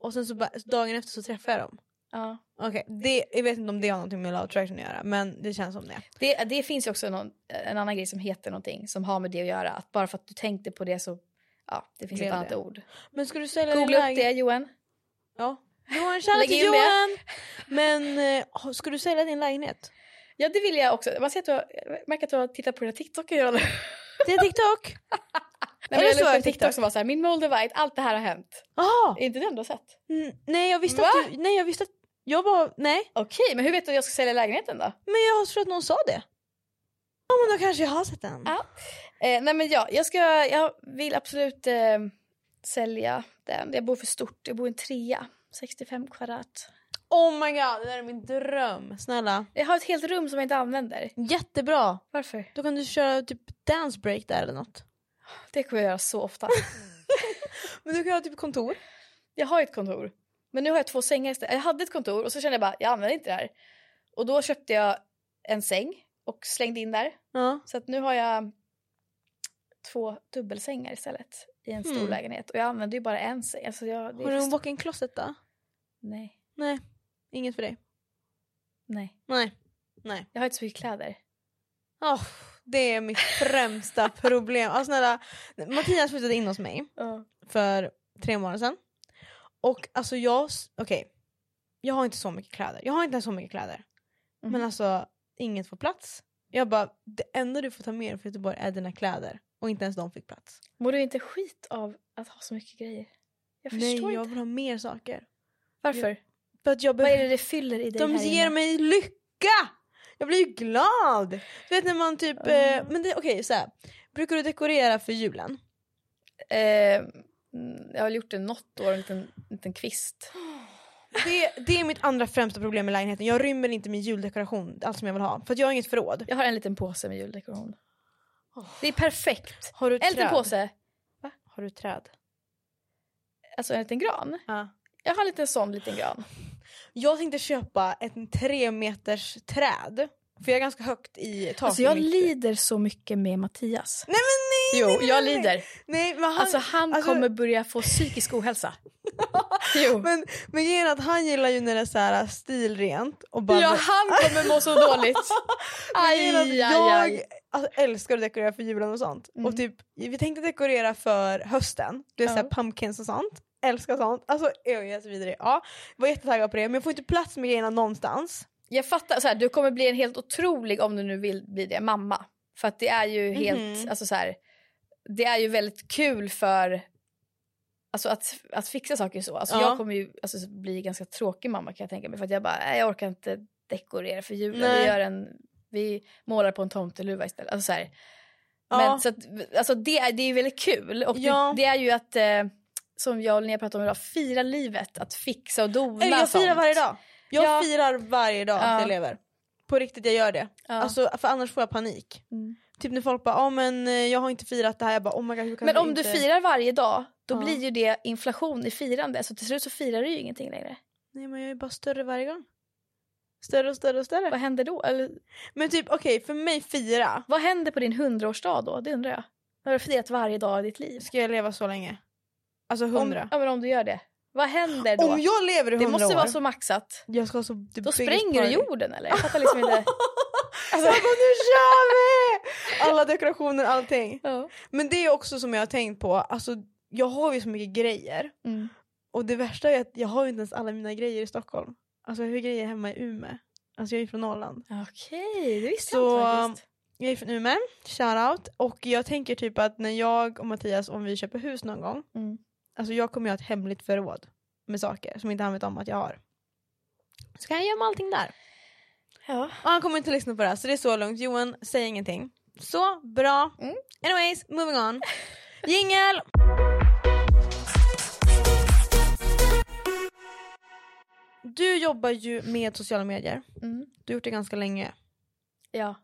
[SPEAKER 1] och sen så bara, dagen efter så träffar jag dem.
[SPEAKER 2] ja.
[SPEAKER 1] Okej, det- jag vet inte om det har någonting med love attraction att göra men det känns som det.
[SPEAKER 2] Det, det finns ju också någon, en annan grej som heter någonting som har med det att göra. Att bara för att du tänkte på det så, ja det finns
[SPEAKER 1] Blev
[SPEAKER 2] ett annat
[SPEAKER 1] det.
[SPEAKER 2] ord.
[SPEAKER 1] Men ska du sälja din
[SPEAKER 2] Googla upp
[SPEAKER 1] lägenhet?
[SPEAKER 2] det Johan.
[SPEAKER 1] Ja. Johan, tjena
[SPEAKER 2] Lägg
[SPEAKER 1] till
[SPEAKER 2] in det.
[SPEAKER 1] Johan! Men eh, ska du sälja din lägenhet?
[SPEAKER 2] Ja det vill jag också. Man ser att du har, jag märker att du har tittat på den här TikToken Johan. Nej,
[SPEAKER 1] Det är TikTok!
[SPEAKER 2] men
[SPEAKER 1] Är det
[SPEAKER 2] jag
[SPEAKER 1] så
[SPEAKER 2] la upp en
[SPEAKER 1] på TikTok?
[SPEAKER 2] TikTok som var så här, min Moldavite, allt det här har hänt.
[SPEAKER 1] Ah,
[SPEAKER 2] Är inte den du har sett?
[SPEAKER 1] n- nej jag visste att du, nej jag visste att, jag bara, nej.
[SPEAKER 2] Okej, men hur vet du att jag ska sälja lägenheten då?
[SPEAKER 1] Men jag har tror att någon sa det. Ja men då kanske jag har sett den.
[SPEAKER 2] Ja. Eh, nej men ja, jag, ska, jag vill absolut eh, sälja den. Jag bor för stort, jag bor i en trea. 65 kvadrat.
[SPEAKER 1] Oh my god, det där är min dröm. Snälla.
[SPEAKER 2] Jag har ett helt rum som jag inte använder.
[SPEAKER 1] Jättebra!
[SPEAKER 2] Varför?
[SPEAKER 1] Då kan du köra typ dance break där eller något.
[SPEAKER 2] Det kommer jag göra så ofta.
[SPEAKER 1] Men du kan ha typ kontor.
[SPEAKER 2] Jag har ju ett kontor. Men nu har jag två sängar istället. Jag hade ett kontor och så kände jag bara, jag använder inte det här. Och då köpte jag en säng och slängde in där.
[SPEAKER 1] Ja.
[SPEAKER 2] Så att nu har jag två dubbelsängar istället i en stor
[SPEAKER 1] Mm.
[SPEAKER 2] lägenhet. Och jag använder ju bara en säng. Alltså jag, det
[SPEAKER 1] Har du
[SPEAKER 2] är för
[SPEAKER 1] en
[SPEAKER 2] stort.
[SPEAKER 1] walk-in closet då?
[SPEAKER 2] Nej,
[SPEAKER 1] Nej, inget för dig.
[SPEAKER 2] nej.
[SPEAKER 1] Nej. Nej.
[SPEAKER 2] Jag har inte så mycket kläder.
[SPEAKER 1] Åh, det är mitt främsta problem. Alltså, snälla, Mattias flyttade in hos mig för tre månader sedan. Och alltså jag, s- okej. jag har inte så mycket kläder. Jag har inte ens så mycket kläder.
[SPEAKER 2] Mhm.
[SPEAKER 1] Men alltså inget får plats. Jag bara, det enda du får ta med dig från Göteborg är dina kläder. Och inte ens de fick plats.
[SPEAKER 2] Mår du inte skit av att ha så mycket grejer? Jag förstår
[SPEAKER 1] Nej, jag
[SPEAKER 2] inte.
[SPEAKER 1] vill ha mer saker.
[SPEAKER 2] Varför?
[SPEAKER 1] För att jag
[SPEAKER 2] Vad är
[SPEAKER 1] behöver...
[SPEAKER 2] det det fyller i dig
[SPEAKER 1] De
[SPEAKER 2] här
[SPEAKER 1] ger
[SPEAKER 2] inne?
[SPEAKER 1] mig lycka! Jag blir ju glad! Du vet när man typ... Eh, men det, okej, så här. Brukar du dekorera för julen?
[SPEAKER 2] Eh, mm, jag har gjort det något år, en liten, liten kvist.
[SPEAKER 1] Det, det är mitt andra främsta problem med lägenheten. Jag rymmer inte min juldekoration, allt som jag vill ha. För att jag har inget förråd.
[SPEAKER 2] Jag har en liten påse med juldekoration. Det är perfekt.
[SPEAKER 1] Har du
[SPEAKER 2] En liten påse,
[SPEAKER 1] Har du träd?
[SPEAKER 2] alltså en liten gran.
[SPEAKER 1] Ja.
[SPEAKER 2] Jag har en liten sån liten gran.
[SPEAKER 1] Jag tänkte köpa ett tre meters träd. För jag är ganska högt i taket.
[SPEAKER 2] Alltså jag lider så mycket med Mattias.
[SPEAKER 1] Nej men nej!
[SPEAKER 2] Jo, jag lider.
[SPEAKER 1] Nej, men han,
[SPEAKER 2] Alltså han
[SPEAKER 1] alltså-
[SPEAKER 2] kommer börja få psykisk ohälsa. Jo.
[SPEAKER 1] Men, men grejen är att han gillar ju när det är så här stilrent och bara...
[SPEAKER 2] Ja, han kommer må så dåligt.
[SPEAKER 1] Men
[SPEAKER 2] Aj,
[SPEAKER 1] grejen är att
[SPEAKER 2] aj,
[SPEAKER 1] jag
[SPEAKER 2] aj.
[SPEAKER 1] Alltså, älskar att dekorera för julen och sånt.
[SPEAKER 2] Mm.
[SPEAKER 1] Och typ, vi tänkte dekorera för hösten, det är så här
[SPEAKER 2] Ja.
[SPEAKER 1] pumpkins och sånt. Älskar sånt. Alltså jag är så vidare. Ja, var jättetaggad på det men jag får inte plats med grejerna någonstans.
[SPEAKER 2] Jag fattar, så här, du kommer bli en helt otrolig, om du nu vill bli det, mamma. För att det är ju helt,
[SPEAKER 1] Mhm.
[SPEAKER 2] alltså så här, det är ju väldigt kul för Alltså att, att fixa saker så. Alltså
[SPEAKER 1] Ja.
[SPEAKER 2] Jag kommer ju alltså, bli ganska tråkig mamma kan jag tänka mig. För att jag bara, nej, jag orkar inte dekorera för julen.
[SPEAKER 1] Nej.
[SPEAKER 2] Vi, gör en, vi målar på en tomteluva istället. Alltså, så här.
[SPEAKER 1] Ja.
[SPEAKER 2] Men, så att, alltså, det, är, det är ju väldigt kul. Och
[SPEAKER 1] Ja.
[SPEAKER 2] det, det är ju att, eh, som jag och Linnea pratade om idag, fira livet. Att fixa och dona.
[SPEAKER 1] Eller jag firar
[SPEAKER 2] sånt.
[SPEAKER 1] varje dag. Jag
[SPEAKER 2] Ja.
[SPEAKER 1] firar varje dag att
[SPEAKER 2] Ja.
[SPEAKER 1] jag lever. På riktigt jag gör det.
[SPEAKER 2] Ja.
[SPEAKER 1] Alltså, för annars får jag panik.
[SPEAKER 2] Mm.
[SPEAKER 1] Typ när folk bara ah, men eh, jag har inte firat det här, jag bara oh my god hur kan
[SPEAKER 2] Men
[SPEAKER 1] du
[SPEAKER 2] om du
[SPEAKER 1] inte...
[SPEAKER 2] firar varje dag, då
[SPEAKER 1] Ja.
[SPEAKER 2] blir ju det inflation i firande. Så till slut så firar du ju ingenting längre.
[SPEAKER 1] Nej men jag är bara större varje gång. Större och större och större.
[SPEAKER 2] Vad händer då? Eller,
[SPEAKER 1] Men typ okej för mig fira,
[SPEAKER 2] vad händer på din hundraårsdag då? Det undrar jag. När du har firat varje dag i ditt liv.
[SPEAKER 1] ska jag leva så länge? Alltså
[SPEAKER 2] Om,
[SPEAKER 1] hundra.
[SPEAKER 2] ja, men om du gör det. Vad händer då?
[SPEAKER 1] Om, jag lever i
[SPEAKER 2] det
[SPEAKER 1] hundra år.
[SPEAKER 2] måste vara så maxat.
[SPEAKER 1] Jag ska ha så the
[SPEAKER 2] Då
[SPEAKER 1] biggest
[SPEAKER 2] spränger du
[SPEAKER 1] party.
[SPEAKER 2] jorden eller? Jag fattar liksom inte.
[SPEAKER 1] Alltså, Jag bara, nu kör vi! Alla dekorationer, allting.
[SPEAKER 2] Ja.
[SPEAKER 1] Men det är också som jag har tänkt på, alltså jag har ju så mycket grejer.
[SPEAKER 2] Mm.
[SPEAKER 1] Och det värsta är att jag har ju inte ens alla mina grejer i Stockholm. Alltså jag har ju grejer hemma i Umeå. Alltså jag är ju från Norrland.
[SPEAKER 2] Okej, det visste
[SPEAKER 1] Så,
[SPEAKER 2] jag inte faktiskt.
[SPEAKER 1] Jag är från Umeå, shoutout. Och jag tänker typ att när jag och Mattias, om vi köper hus någon gång,
[SPEAKER 2] Mm.
[SPEAKER 1] alltså jag kommer ju ha ett hemligt förråd med saker som inte han vet om att jag har. Så kan jag gömma allting där.
[SPEAKER 2] Ja.
[SPEAKER 1] Och han kommer inte lyssna på det här så det är så lugnt. Johan, säg ingenting. Så, bra.
[SPEAKER 2] Mm.
[SPEAKER 1] Anyways, moving on. Jingel! Du jobbar ju med sociala medier.
[SPEAKER 2] Mm.
[SPEAKER 1] Du har gjort det ganska länge.
[SPEAKER 2] ja,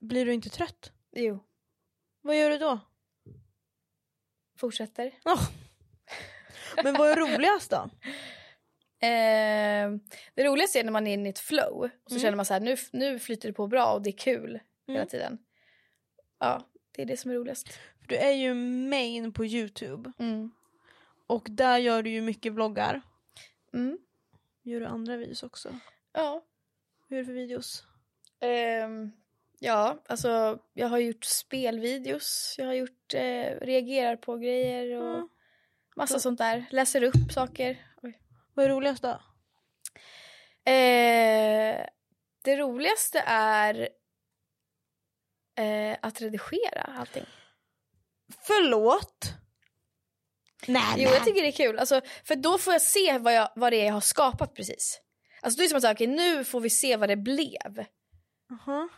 [SPEAKER 1] Blir du inte trött?
[SPEAKER 2] jo.
[SPEAKER 1] Vad gör du då?
[SPEAKER 2] Fortsätter.
[SPEAKER 1] Åh. Men vad är roligast då?
[SPEAKER 2] Eh, det roligaste är när man är inne i ett flow. Och så
[SPEAKER 1] Mm.
[SPEAKER 2] känner man så här, nu, nu flyter det på bra och det är kul hela
[SPEAKER 1] Mm.
[SPEAKER 2] tiden. Ja, det är det som är roligast.
[SPEAKER 1] För du är ju main på Youtube och där gör du ju mycket vloggar.
[SPEAKER 2] Mm.
[SPEAKER 1] Gör du andra videos också?
[SPEAKER 2] Ja.
[SPEAKER 1] Vad gör du för videos?
[SPEAKER 2] Ehm, ja, alltså jag har gjort spelvideos, jag har gjort eh, reagerar på grejer och
[SPEAKER 1] Mm.
[SPEAKER 2] massa sånt där. Läser upp saker. Oj.
[SPEAKER 1] Vad är roligast då?
[SPEAKER 2] Eh, det roligaste är eh, att redigera allting.
[SPEAKER 1] Förlåt? Nej,
[SPEAKER 2] Jo, jag tycker det är kul. Alltså, för då får jag se vad, jag, vad det är jag har skapat precis. Alltså, då är det som att säga, okej, nu får vi se vad det blev.
[SPEAKER 1] Aha.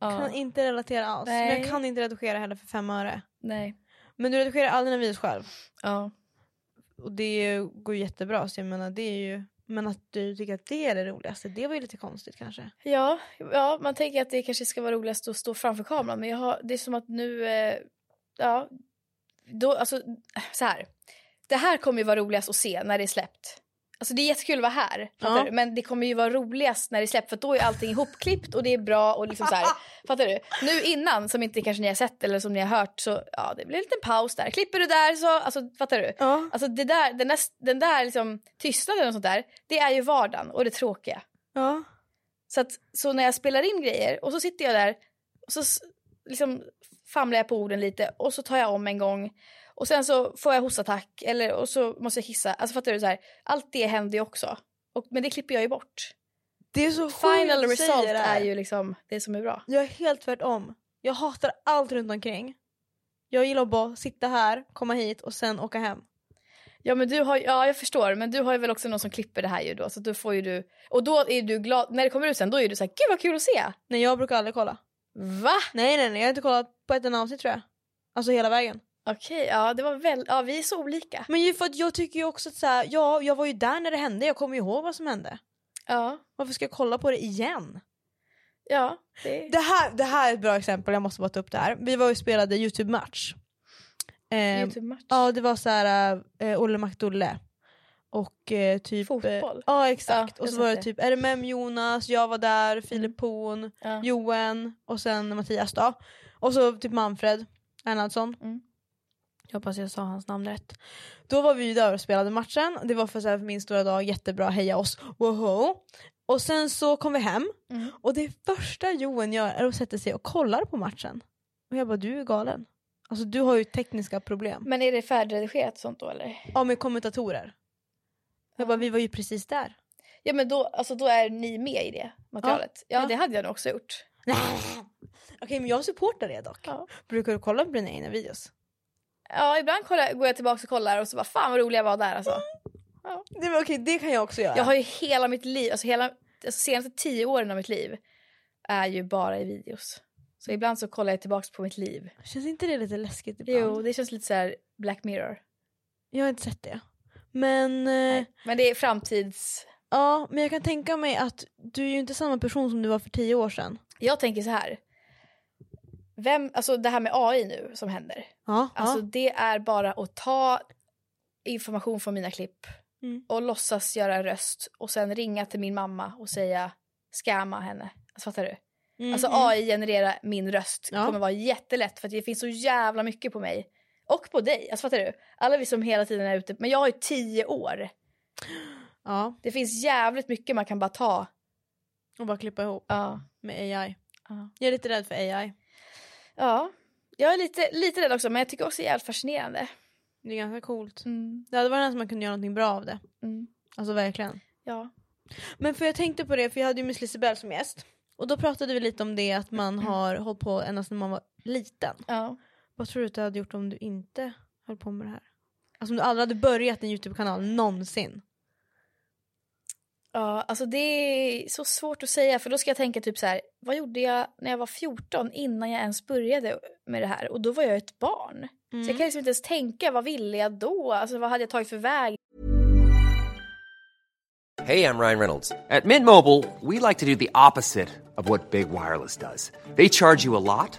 [SPEAKER 1] Kan
[SPEAKER 2] Ja.
[SPEAKER 1] inte relatera alls.
[SPEAKER 2] Nej.
[SPEAKER 1] Men jag kan inte redigera heller för fem öre.
[SPEAKER 2] Nej.
[SPEAKER 1] Men du redigerar all dina videos själv.
[SPEAKER 2] Ja.
[SPEAKER 1] Och det går ju jättebra så jag menar det är ju... Men att du tycker att det är det roligaste, det var ju lite konstigt kanske.
[SPEAKER 2] Ja, ja, man tänker att det kanske ska vara roligast att stå framför kameran. Men jag har, det är som att nu... Eh, ja, då, alltså, så här. Det här kommer ju vara roligast att se när det är släppt. Alltså det är jättekul att vara här, fattar
[SPEAKER 1] Ja.
[SPEAKER 2] du? men det kommer ju vara roligast när det är släppt för att då är allting ihopklippt och det är bra och liksom så här, fattar du? Nu innan som inte kanske ni har sett eller som ni har hört så ja det blir en liten paus där. Klipper du där så, alltså fattar du?
[SPEAKER 1] Ja.
[SPEAKER 2] Alltså det där, den där, den där liksom, tystnaden och sånt där, det är ju vardagen och det tråkiga.
[SPEAKER 1] ja.
[SPEAKER 2] Så, att, så när jag spelar in grejer och så sitter jag där och så s- liksom famlar jag på orden lite och så tar jag om en gång och sen så får jag hostattack eller och så måste jag kissa. Alltså fattar du så här, allt det händer ju också. Och, men det klipper jag ju bort.
[SPEAKER 1] Det är så sjukt
[SPEAKER 2] Final
[SPEAKER 1] att du säger
[SPEAKER 2] result
[SPEAKER 1] det
[SPEAKER 2] är
[SPEAKER 1] här.
[SPEAKER 2] ju liksom det som är bra.
[SPEAKER 1] Jag är helt tvärtom. Jag hatar allt runt omkring. Jag gillar att bara sitta här, komma hit och sen åka hem.
[SPEAKER 2] Ja men du har ja jag förstår men du har ju väl också någon som klipper det här ju då så att då får ju du och då är du glad när det kommer ut sen då är du så här gud vad kul att se.
[SPEAKER 1] Nej jag brukar aldrig kolla.
[SPEAKER 2] Va?
[SPEAKER 1] Nej nej nej jag har inte kollat på ett enda avsnitt tror jag. Alltså hela vägen.
[SPEAKER 2] Okej ja det var väl ja vi är så olika.
[SPEAKER 1] Men ju för att jag tycker ju också att så här, ja, jag var ju där när det hände, jag kommer ju ihåg vad som hände.
[SPEAKER 2] Ja
[SPEAKER 1] Varför ska jag kolla på det igen?
[SPEAKER 2] ja det,
[SPEAKER 1] Det här, det här är ett bra exempel, jag måste bara ta upp det här. Vi var ju och spelade Youtube-match. Eh,
[SPEAKER 2] Youtube match.
[SPEAKER 1] Ja, det var så här eh, Olle McDolle. Och eh, typ...
[SPEAKER 2] Fotboll.
[SPEAKER 1] Eh, ja, exakt.
[SPEAKER 2] Ja,
[SPEAKER 1] och
[SPEAKER 2] jag
[SPEAKER 1] så var det Mm.
[SPEAKER 2] satt
[SPEAKER 1] typ RMM Jonas, jag var där, Filip Horn,
[SPEAKER 2] Ja.
[SPEAKER 1] Johan och sen Mattias då. Och så typ Manfred. Erlandsson.
[SPEAKER 2] Mm.
[SPEAKER 1] Jag hoppas jag sa hans namn rätt. Då var vi ju där och spelade matchen. Det var för, så här, för min stora dag, jättebra, heja oss, woho. Och sen så kom vi hem
[SPEAKER 2] Mm.
[SPEAKER 1] och det första Johan gör är att sätta sig och kollar på matchen. Och jag bara, du är galen. Alltså du har ju tekniska problem.
[SPEAKER 2] Men är det färdigredigerat sånt då eller?
[SPEAKER 1] Ja med kommentatorer. Jag bara, vi var ju precis där.
[SPEAKER 2] Ja men då, alltså, då är ni med i det materialet. Ja,
[SPEAKER 1] ja.
[SPEAKER 2] det hade jag nog också gjort.
[SPEAKER 1] Okej men jag supportar det dock.
[SPEAKER 2] Ja.
[SPEAKER 1] Brukar du kolla på dina egna videos?
[SPEAKER 2] Ja ibland kollar, går jag tillbaka och kollar och så bara fan vad rolig jag var där alltså.
[SPEAKER 1] Det, var okej, det kan jag också göra.
[SPEAKER 2] Jag har ju hela mitt liv, alltså hela alltså, senaste tio åren av mitt liv är ju bara i videos. Så ibland så kollar jag tillbaka på mitt liv.
[SPEAKER 1] Känns inte det lite läskigt ibland?
[SPEAKER 2] Jo, det känns lite så här Black Mirror.
[SPEAKER 1] Jag har inte sett det. Men, eh,
[SPEAKER 2] Men det är framtids...
[SPEAKER 1] ja, men jag kan tänka mig att du är ju inte samma person som du var för tio år sedan.
[SPEAKER 2] Jag tänker så här. Vem, alltså det här med AI nu som händer.
[SPEAKER 1] Ja,
[SPEAKER 2] Alltså
[SPEAKER 1] ja.
[SPEAKER 2] det är bara att ta information från mina klipp
[SPEAKER 1] Mm.
[SPEAKER 2] och låtsas göra en röst och sen ringa till min mamma och säga scamma henne. Alltså, fattar du?
[SPEAKER 1] Mm,
[SPEAKER 2] Alltså
[SPEAKER 1] mm.
[SPEAKER 2] AI generera min röst
[SPEAKER 1] Ja.
[SPEAKER 2] kommer vara jättelätt för att det finns så jävla mycket på mig. Och på dig, alltså fattar du? Alla vi som hela tiden är ute, men jag har ju tio år.
[SPEAKER 1] Ja,
[SPEAKER 2] Det finns jävligt mycket man kan bara ta.
[SPEAKER 1] och bara klippa ihop
[SPEAKER 2] Ja.
[SPEAKER 1] med AI.
[SPEAKER 2] Ja.
[SPEAKER 1] Jag är lite rädd för AI.
[SPEAKER 2] ja. Jag är lite, lite rädd också men jag tycker också det är jävligt fascinerande.
[SPEAKER 1] Det är ganska coolt. Det hade varit nästan man kunde göra någonting bra av det.
[SPEAKER 2] Mm.
[SPEAKER 1] Alltså verkligen.
[SPEAKER 2] Ja.
[SPEAKER 1] Men för jag tänkte på det, för jag hade ju Miss Liseberg som gäst. Och då pratade vi lite om det att man har hållit på ända sedan man var liten.
[SPEAKER 2] ja.
[SPEAKER 1] Vad tror du att du hade gjort om du inte höll på med det här? Alltså om du aldrig hade börjat en YouTube-kanal någonsin.
[SPEAKER 2] Ja, alltså det är så svårt att säga för då ska jag tänka typ så här, vad gjorde jag när jag var 14 innan jag ens började med det här och då var jag ett barn. Så jag kan liksom inte ens tänka, vad ville jag då? Alltså vad hade jag tagit för väg?
[SPEAKER 3] Hey, I'm Ryan Reynolds. At Mint Mobile, we like to do the opposite of what Big Wireless does. They charge you a lot,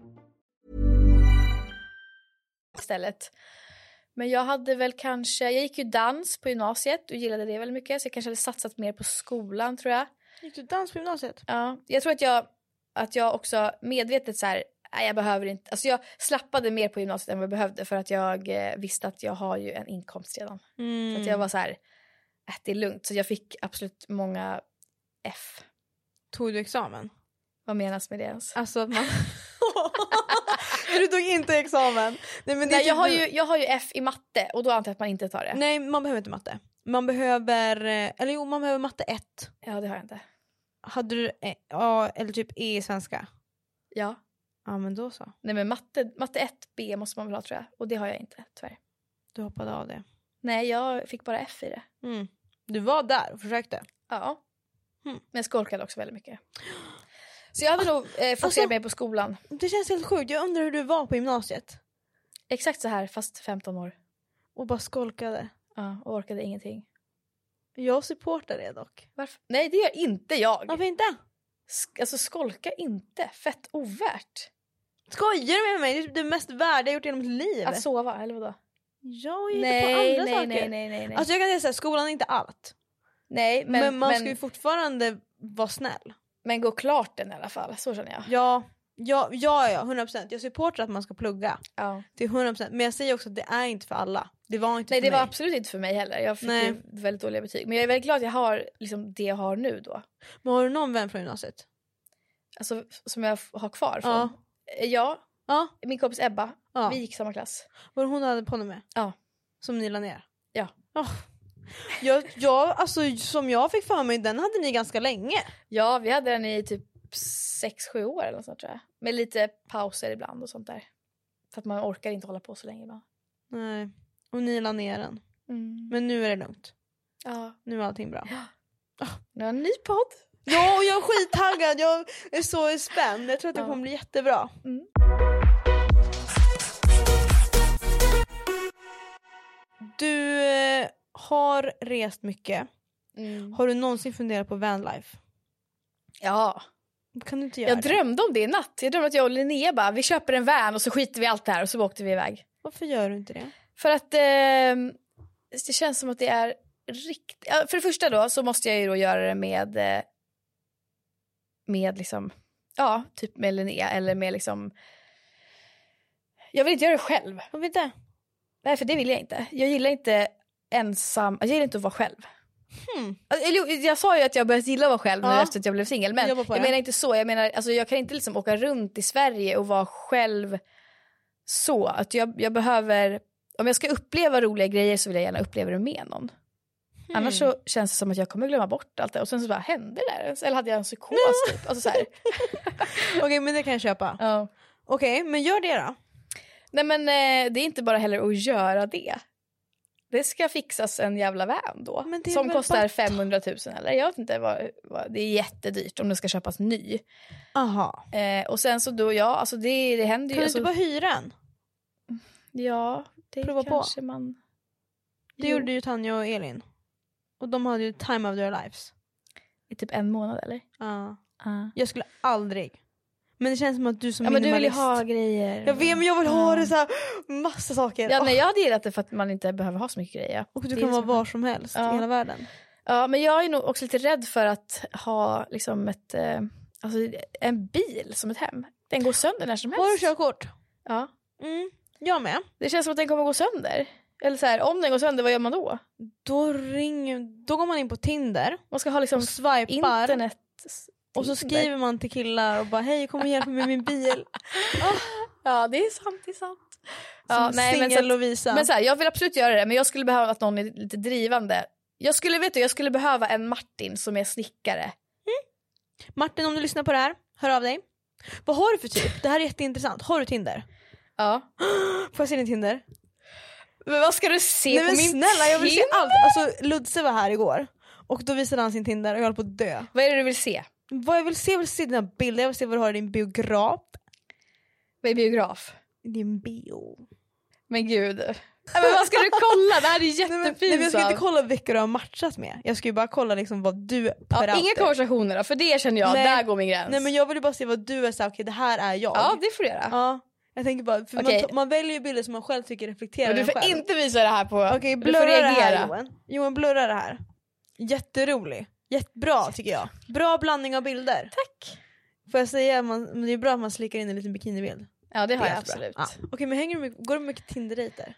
[SPEAKER 2] istället. Men jag hade väl kanske, jag gick ju dans på gymnasiet och gillade det väldigt mycket så jag kanske hade satsat mer på skolan tror jag.
[SPEAKER 1] Gick du dans på gymnasiet?
[SPEAKER 2] Ja, jag tror att jag, att jag också medvetet så här, nej jag behöver inte, alltså jag slappade mer på gymnasiet än vad jag behövde för att jag eh, visste att jag har ju en inkomst redan. Så att jag
[SPEAKER 1] Mm.
[SPEAKER 2] var så här, äh, det är lugnt. Så jag fick absolut många F.
[SPEAKER 1] Tog du examen?
[SPEAKER 2] Vad menas med det ens?
[SPEAKER 1] Alltså att man... du tog inte examen. Nej, men det är
[SPEAKER 2] Nej, jag,
[SPEAKER 1] typ-
[SPEAKER 2] har ju, jag har ju F i matte och då antar jag att man inte tar det.
[SPEAKER 1] Nej man behöver inte matte. Man behöver, eh, eller jo man behöver matte 1.
[SPEAKER 2] Ja, det har jag inte.
[SPEAKER 1] Hade du, eh, ja eller typ E i svenska?
[SPEAKER 2] Ja.
[SPEAKER 1] Ja men då så.
[SPEAKER 2] Nej men matte, matte 1B måste man väl ha tror jag. Och det har jag inte tyvärr.
[SPEAKER 1] Du hoppade av det.
[SPEAKER 2] Nej jag fick bara F i det.
[SPEAKER 1] Mm. Du var där och försökte.
[SPEAKER 2] Ja.
[SPEAKER 1] Hmm.
[SPEAKER 2] Men jag skolkade också väldigt mycket. Så jag hade nog eh, fokuserat
[SPEAKER 1] Alltså-
[SPEAKER 2] mer på skolan.
[SPEAKER 1] Det känns helt sjukt, jag undrar hur du var på gymnasiet.
[SPEAKER 2] Exakt så här fast 15 år.
[SPEAKER 1] Och bara skolkade.
[SPEAKER 2] Ja, och orkade ingenting.
[SPEAKER 1] Jag supportar det dock.
[SPEAKER 2] Varför? Nej det gör inte jag.
[SPEAKER 1] Varför inte?
[SPEAKER 2] Sk- alltså skolka inte. Fett ovärt.
[SPEAKER 1] Skojar du med mig? Det är typ det mest värda jag gjort i hela mitt liv.
[SPEAKER 2] Att sova eller vadå?
[SPEAKER 1] Alltså, jag är nej, på
[SPEAKER 2] Nej
[SPEAKER 1] andra
[SPEAKER 2] nej,
[SPEAKER 1] saker.
[SPEAKER 2] nej nej nej nej.
[SPEAKER 1] Alltså jag kan säga såhär, skolan är inte allt.
[SPEAKER 2] nej men,
[SPEAKER 1] Men, man
[SPEAKER 2] men,
[SPEAKER 1] ska ju fortfarande vara snäll.
[SPEAKER 2] men gå klart den i alla fall. Så känner jag.
[SPEAKER 1] Ja, ja, ja, ja 100%. Jag supportar att man ska plugga
[SPEAKER 2] Ja.
[SPEAKER 1] till 100% men jag säger också att det är inte för alla. Det var inte
[SPEAKER 2] Nej
[SPEAKER 1] för
[SPEAKER 2] det
[SPEAKER 1] mig.
[SPEAKER 2] var absolut inte för mig heller. Jag fick
[SPEAKER 1] Nej.
[SPEAKER 2] ju väldigt dåliga betyg. Men jag är väldigt glad att jag har liksom, det jag har nu då.
[SPEAKER 1] Men har du någon vän från gymnasiet?
[SPEAKER 2] Alltså som jag f- har kvar från.
[SPEAKER 1] Ja.
[SPEAKER 2] Eh, ja.
[SPEAKER 1] Ja.
[SPEAKER 2] Min kompis Ebba.
[SPEAKER 1] Ja.
[SPEAKER 2] Vi gick i samma klass.
[SPEAKER 1] Var det hon du hade på med?
[SPEAKER 2] Ja.
[SPEAKER 1] Som ni la ner?
[SPEAKER 2] Ja.
[SPEAKER 1] Åh, Jag, jag, alltså, som jag fick för mig, den hade ni ganska länge.
[SPEAKER 2] Ja, vi hade den i typ 6-7 år eller något sånt tror jag. Med lite pauser ibland och sånt där. För att man orkar inte hålla på så länge ibland.
[SPEAKER 1] Nej. Och ni la ner den.
[SPEAKER 2] Mm.
[SPEAKER 1] Men nu är det lugnt.
[SPEAKER 2] Ja.
[SPEAKER 1] Nu är allting bra.
[SPEAKER 2] Nu har jag en ny podd.
[SPEAKER 1] Ja, och jag är skittaggad. Jag är så spänd. Jag tror att det
[SPEAKER 2] Ja.
[SPEAKER 1] kommer bli jättebra. Du eh, har rest mycket.
[SPEAKER 2] Mm.
[SPEAKER 1] Har du någonsin funderat på vanlife?
[SPEAKER 2] Ja.
[SPEAKER 1] Kan du inte göra
[SPEAKER 2] Jag
[SPEAKER 1] det?
[SPEAKER 2] drömde om det i natt. Jag drömde att jag och Linnea bara, vi köper en van och så skiter vi i allt det här och så åkte vi iväg.
[SPEAKER 1] Varför gör du inte det?
[SPEAKER 2] För att eh, det känns som att det är riktigt... ja, För det första då så måste jag ju då göra det med eh, med liksom ja, typ med Linnea eller med liksom jag vill inte göra det själv.
[SPEAKER 1] Varför inte?
[SPEAKER 2] Nej, för det vill jag inte. Jag gillar inte ensam, jag gillar inte att vara själv.
[SPEAKER 1] Hmm.
[SPEAKER 2] Alltså, Eller, jo, jag sa ju att jag börjat gilla att vara själv
[SPEAKER 1] Ja.
[SPEAKER 2] nu efter att jag blev singel. Men jag,
[SPEAKER 1] Jobba på det.
[SPEAKER 2] menar inte så. Jag menar, alltså, jag kan inte liksom åka runt i Sverige och vara själv så. Att jag, jag behöver, om jag ska uppleva roliga grejer så vill jag gärna uppleva det med någon.
[SPEAKER 1] Hmm.
[SPEAKER 2] Annars så känns det som att jag kommer glömma bort allt det. Och sen så bara hände det där? Eller hade jag en psykos typ? Alltså, så här.
[SPEAKER 1] Okej, men det kan jag köpa.
[SPEAKER 2] Ja.
[SPEAKER 1] Okej, men gör det då.
[SPEAKER 2] Nej men eh, det är inte bara heller att göra det. Det ska fixas en jävla van då.
[SPEAKER 1] Men det är
[SPEAKER 2] som
[SPEAKER 1] väl
[SPEAKER 2] kostar
[SPEAKER 1] bara-
[SPEAKER 2] 500 000 eller jag vet inte vad, vad det är jättedyrt om det ska köpas ny.
[SPEAKER 1] Aha.
[SPEAKER 2] Eh, och sen så då ja, alltså det, det händer
[SPEAKER 1] Kan
[SPEAKER 2] ju.
[SPEAKER 1] du
[SPEAKER 2] Alltså,
[SPEAKER 1] inte bara hyra den?
[SPEAKER 2] Ja, det
[SPEAKER 1] prova på?
[SPEAKER 2] kanske man.
[SPEAKER 1] Det
[SPEAKER 2] Jo.
[SPEAKER 1] gjorde ju Tanja och Elin. Och de hade ju time of their lives.
[SPEAKER 2] I typ en månad eller?
[SPEAKER 1] Ja.
[SPEAKER 2] Ja.
[SPEAKER 1] Jag skulle aldrig. Men det känns som att du som
[SPEAKER 2] Ja men du vill ju
[SPEAKER 1] minimalist.
[SPEAKER 2] ha grejer. Ah.
[SPEAKER 1] Jag vet men jag vill ha det så Ah. här, massa saker.
[SPEAKER 2] Ja,
[SPEAKER 1] Åh,
[SPEAKER 2] nej, jag hade gillat det för att man inte behöver ha så mycket grejer.
[SPEAKER 1] Och du
[SPEAKER 2] Det är
[SPEAKER 1] kan vara
[SPEAKER 2] så-
[SPEAKER 1] var som helst
[SPEAKER 2] Ja.
[SPEAKER 1] i hela världen.
[SPEAKER 2] Ja, men jag är nog också lite rädd för att ha liksom ett, eh, alltså, en bil som ett hem. Den går sönder när som helst.
[SPEAKER 1] Har du körkort?
[SPEAKER 2] Ja.
[SPEAKER 1] Mm. Jag med.
[SPEAKER 2] Det känns som att den kommer gå sönder. Eller så här, om den går sönder, vad gör man då?
[SPEAKER 1] Då, ringer, då går man in på Tinder
[SPEAKER 2] Man ska ha liksom
[SPEAKER 1] och swipar
[SPEAKER 2] internet.
[SPEAKER 1] och så
[SPEAKER 2] Tinder.
[SPEAKER 1] skriver man till killar och bara hej kom och hjälp mig med min bil.
[SPEAKER 2] Ja, det är sant, det är sant.
[SPEAKER 1] Som
[SPEAKER 2] Ja, nej, men så
[SPEAKER 1] singel
[SPEAKER 2] att,
[SPEAKER 1] Lovisa.
[SPEAKER 2] men så här, jag vill absolut göra det, men jag skulle behöva att någon är lite drivande. Jag skulle, vet du, jag skulle behöva en Martin som är snickare.
[SPEAKER 1] Martin om du lyssnar på det här, hör av dig. Vad har du för typ? Det här är jätteintressant. Har du Tinder?
[SPEAKER 2] Ja.
[SPEAKER 1] Får jag se din Tinder?
[SPEAKER 2] Men vad ska du se
[SPEAKER 1] Nej
[SPEAKER 2] på
[SPEAKER 1] men
[SPEAKER 2] min
[SPEAKER 1] snälla jag vill se
[SPEAKER 2] Tinder?
[SPEAKER 1] allt. Alltså Ludse var här igår och då visade han sin Tinder och jag höll på att dö.
[SPEAKER 2] Vad är det du vill se?
[SPEAKER 1] Vad jag vill se, jag vill se dina bilder, jag vill se vad du har i din biograf.
[SPEAKER 2] Vad är biograf?
[SPEAKER 1] I din bio.
[SPEAKER 2] Men gud. Nej, Men vad ska du kolla? Det här är
[SPEAKER 1] Nej, men, nej, men jag
[SPEAKER 2] jättepinsamt.
[SPEAKER 1] ska inte kolla vilka du har matchat med. Jag ska ju bara kolla liksom vad du
[SPEAKER 2] Ja, inga
[SPEAKER 1] outer.
[SPEAKER 2] konversationer då, för det känner jag,
[SPEAKER 1] Nej.
[SPEAKER 2] där går min gräns.
[SPEAKER 1] Nej men jag vill ju bara se vad du är såhär, okej det här är jag.
[SPEAKER 2] Ja, det får du göra.
[SPEAKER 1] Ja, jag tänker bara, för
[SPEAKER 2] Okej.
[SPEAKER 1] man, ta- man väljer ju bilder som man själv tycker reflekterar
[SPEAKER 2] Men du
[SPEAKER 1] en
[SPEAKER 2] får
[SPEAKER 1] själv.
[SPEAKER 2] inte visa det här på...
[SPEAKER 1] Okej
[SPEAKER 2] du får
[SPEAKER 1] blurra det här
[SPEAKER 2] reagera.
[SPEAKER 1] Johan. Johan blurra det här. Jätterolig. Jättebra tycker jag. Bra blandning av bilder. Tack. Får jag säga, att man, det är bra att man slickar in en liten bikinibild.
[SPEAKER 2] Ja, det har jag
[SPEAKER 1] jättebra.
[SPEAKER 2] absolut.
[SPEAKER 1] Ja. Okej men hänger du mycket, går du mycket Tinder-dejter?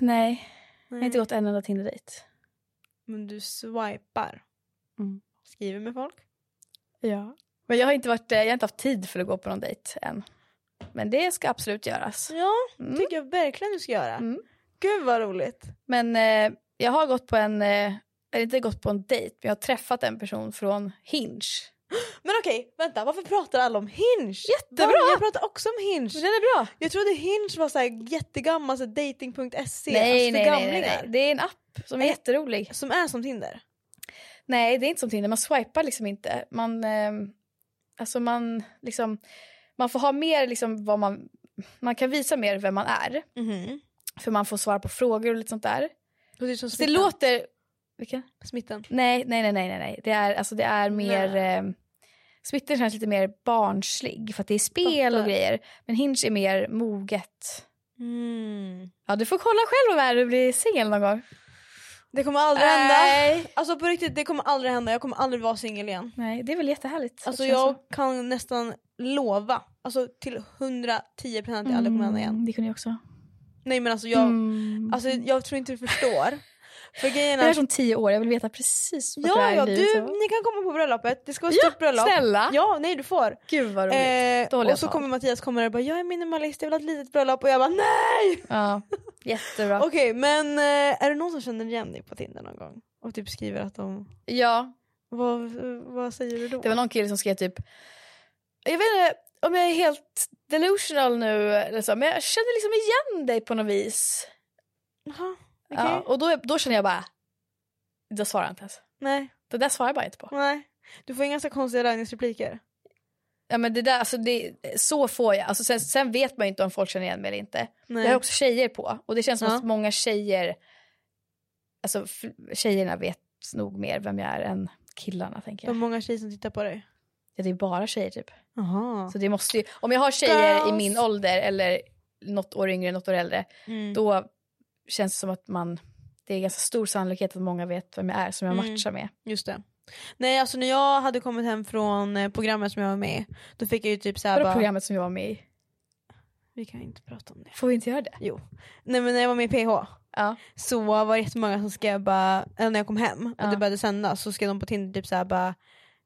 [SPEAKER 2] Nej, jag har
[SPEAKER 1] Nej.
[SPEAKER 2] inte gått en enda Tinder-dejt.
[SPEAKER 1] Men du swipar.
[SPEAKER 2] Mm.
[SPEAKER 1] Skriver med folk.
[SPEAKER 2] Ja. Men jag har, inte varit, eh, jag har inte haft tid för att gå på någon dejt än. Men det ska absolut göras.
[SPEAKER 1] Ja,
[SPEAKER 2] Mm.
[SPEAKER 1] tycker jag verkligen du ska göra.
[SPEAKER 2] Mm.
[SPEAKER 1] Gud vad roligt.
[SPEAKER 2] Men eh, jag har gått på en... Eh, eller inte gått på en dejt, men jag har träffat en person från Hinge.
[SPEAKER 1] Men okej, vänta varför pratar alla om Hinge?
[SPEAKER 2] Jättebra!
[SPEAKER 1] Varför? Jag pratar också om Hinge.
[SPEAKER 2] Den är bra.
[SPEAKER 1] Jag trodde Hinge var så här jättegammal, så dating.se,
[SPEAKER 2] Nej,
[SPEAKER 1] alltså för
[SPEAKER 2] nej, nej, nej, nej.
[SPEAKER 1] gamlingar.
[SPEAKER 2] Det är en app som är
[SPEAKER 1] Nej.
[SPEAKER 2] jätterolig.
[SPEAKER 1] Som är som Tinder.
[SPEAKER 2] Nej, det är inte som Tinder. Man swipar liksom inte. Man, ehm, alltså man, liksom, man får ha mer liksom vad man... Man kan visa mer vem man är. För man får svara på frågor och lite sånt där.
[SPEAKER 1] Och det är som
[SPEAKER 2] Så Mm-hmm. Alltså,
[SPEAKER 1] smittan.
[SPEAKER 2] det låter... Vilken?
[SPEAKER 1] smittan.
[SPEAKER 2] Nej, nej, nej, nej, nej, nej. Det är, alltså, det är mer... Eh, Smittan känns lite mer barnslig för att det är spel och
[SPEAKER 1] Fattar.
[SPEAKER 2] grejer. Men Hinge är mer moget.
[SPEAKER 1] Mm.
[SPEAKER 2] Ja, du får kolla själv om här du blir singel någon gång.
[SPEAKER 1] Det kommer aldrig hända.
[SPEAKER 2] Nej.
[SPEAKER 1] Alltså på riktigt, det kommer aldrig hända. Jag kommer aldrig vara singel igen.
[SPEAKER 2] Nej, det är väl jättehärligt.
[SPEAKER 1] Alltså
[SPEAKER 2] att känna
[SPEAKER 1] jag
[SPEAKER 2] så.
[SPEAKER 1] kan nästan lova, alltså till 110% att jag aldrig kommer hända igen.
[SPEAKER 2] Mm, det kunde jag också.
[SPEAKER 1] Nej men alltså jag,
[SPEAKER 2] Mm.
[SPEAKER 1] alltså, jag tror inte du förstår. För grejen
[SPEAKER 2] Jag är
[SPEAKER 1] är...
[SPEAKER 2] som tio år, jag vill veta precis vart
[SPEAKER 1] Ja,
[SPEAKER 2] är i
[SPEAKER 1] ja,
[SPEAKER 2] livet.
[SPEAKER 1] du, ni kan komma på bröllopet. Det ska vara ett
[SPEAKER 2] Ja,
[SPEAKER 1] stort bröllop.
[SPEAKER 2] snälla.
[SPEAKER 1] Ja, nej du får.
[SPEAKER 2] Gud vad roligt.
[SPEAKER 1] Eh,
[SPEAKER 2] Då håller jag
[SPEAKER 1] och så
[SPEAKER 2] tal.
[SPEAKER 1] kommer Mattias komma där och bara jag är minimalist, jag vill ha ett litet bröllop och jag bara nej!
[SPEAKER 2] Ja. Jättebra.
[SPEAKER 1] Okej men eh, är det någon som känner igen dig på Tinder någon gång? Och typ skriver att de...
[SPEAKER 2] ja,
[SPEAKER 1] Vad, vad säger du då?
[SPEAKER 2] det var någon kille som skrev typ... Jag vet inte om jag är helt delusional nu, eller så, men jag känner liksom igen dig på något vis.
[SPEAKER 1] Jaha,
[SPEAKER 2] Ja,
[SPEAKER 1] okej.
[SPEAKER 2] och då, då känner jag bara... Då svarar jag inte ens.
[SPEAKER 1] Nej,
[SPEAKER 2] Det där svarar jag bara inte på.
[SPEAKER 1] nej. Du får inga så konstiga raggningsrepliker.
[SPEAKER 2] Ja, men det där, alltså det, så får jag. Alltså sen, sen vet man ju inte om folk känner igen mig eller inte.
[SPEAKER 1] Nej.
[SPEAKER 2] Jag har också tjejer på och det känns som
[SPEAKER 1] Ja.
[SPEAKER 2] att många tjejer, alltså f- tjejerna vet nog mer vem jag är än killarna tänker
[SPEAKER 1] De
[SPEAKER 2] jag.
[SPEAKER 1] många tjejer som tittar på dig.
[SPEAKER 2] Ja, det är bara tjejer typ.
[SPEAKER 1] Jaha.
[SPEAKER 2] Så det måste ju, om jag har tjejer i
[SPEAKER 1] Girls.
[SPEAKER 2] min ålder eller något år yngre, något år äldre,
[SPEAKER 1] Mm.
[SPEAKER 2] då känns det som att man, det är ganska stor sannolikhet att många vet vem jag är som jag
[SPEAKER 1] Mm.
[SPEAKER 2] matchar med.
[SPEAKER 1] Just det. Nej alltså när jag hade kommit hem från eh, programmet som jag var med i, då fick jag ju typ
[SPEAKER 2] Det
[SPEAKER 1] såhär
[SPEAKER 2] var
[SPEAKER 1] bara...
[SPEAKER 2] programmet som jag var med i.
[SPEAKER 1] Vi kan inte prata om det.
[SPEAKER 2] Får vi inte göra det?
[SPEAKER 1] Jo. Nej men när jag var med i PH
[SPEAKER 2] Ja.
[SPEAKER 1] så var det jättemånga som skrev bara, eller när jag kom hem och
[SPEAKER 2] Ja.
[SPEAKER 1] det började sändas så skrev de på Tinder typ såhär bara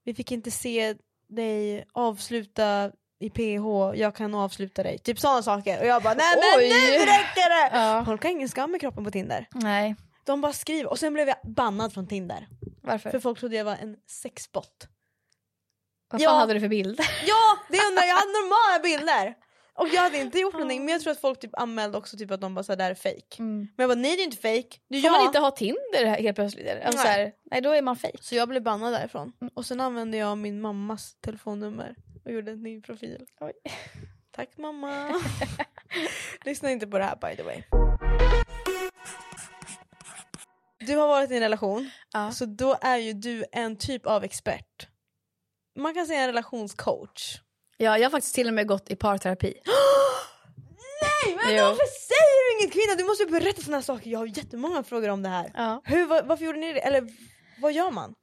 [SPEAKER 1] Vi fick inte se dig avsluta i PH, jag kan avsluta dig. Typ sådana saker. Och jag bara nej men
[SPEAKER 2] Oj.
[SPEAKER 1] nu räcker det!
[SPEAKER 2] Ja.
[SPEAKER 1] Folk har ingen skam i kroppen på Tinder.
[SPEAKER 2] Nej,
[SPEAKER 1] De bara skriver. Och sen blev jag bannad från Tinder.
[SPEAKER 2] varför?
[SPEAKER 1] För folk trodde jag var en sexbot.
[SPEAKER 2] Vad fan
[SPEAKER 1] Ja.
[SPEAKER 2] hade du för bild?
[SPEAKER 1] Ja, det undrar jag. Jag hade normala bilder. Och jag hade inte gjort någonting. Men jag tror att folk typ anmälde också typ att de bara såhär, det här är fake. Men jag bara nej det är inte fake. Det är
[SPEAKER 2] Får
[SPEAKER 1] jag.
[SPEAKER 2] man inte ha Tinder här helt plötsligt? eller? Alltså,
[SPEAKER 1] Nej.
[SPEAKER 2] nej. Så här, nej, då är man fejk.
[SPEAKER 1] Så jag blev bannad därifrån. Och sen använde jag min mammas telefonnummer och gjorde en ny profil.
[SPEAKER 2] Oj.
[SPEAKER 1] Tack mamma. Lyssna inte på det här by the way. Du har varit i en relation,
[SPEAKER 2] Ja.
[SPEAKER 1] så då är ju du en typ av expert. Man kan säga en relationscoach.
[SPEAKER 2] Ja, jag har faktiskt till och med gått i parterapi.
[SPEAKER 1] Nej men
[SPEAKER 2] Jo.
[SPEAKER 1] varför säger du inget kvinna? Du måste ju berätta sådana här saker. Jag har jättemånga frågor om det här.
[SPEAKER 2] Ja.
[SPEAKER 1] Hur, va- varför gjorde ni det? Eller vad gör man?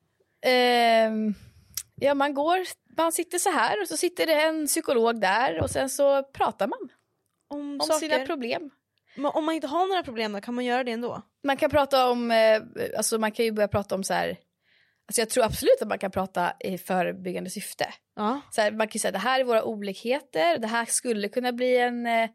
[SPEAKER 2] Ehm, ja, man går, man sitter så här och så sitter det en psykolog där och sen så pratar man
[SPEAKER 1] Om,
[SPEAKER 2] om
[SPEAKER 1] saker?
[SPEAKER 2] sina problem.
[SPEAKER 1] Men om man inte har några problem då, kan man göra det ändå?
[SPEAKER 2] Man kan prata om, eh, alltså man kan ju börja prata om så här, alltså jag tror absolut att man kan prata i förebyggande syfte.
[SPEAKER 1] Ja.
[SPEAKER 2] Så här, man kan ju säga det här är våra olikheter, det här skulle kunna bli en, eh,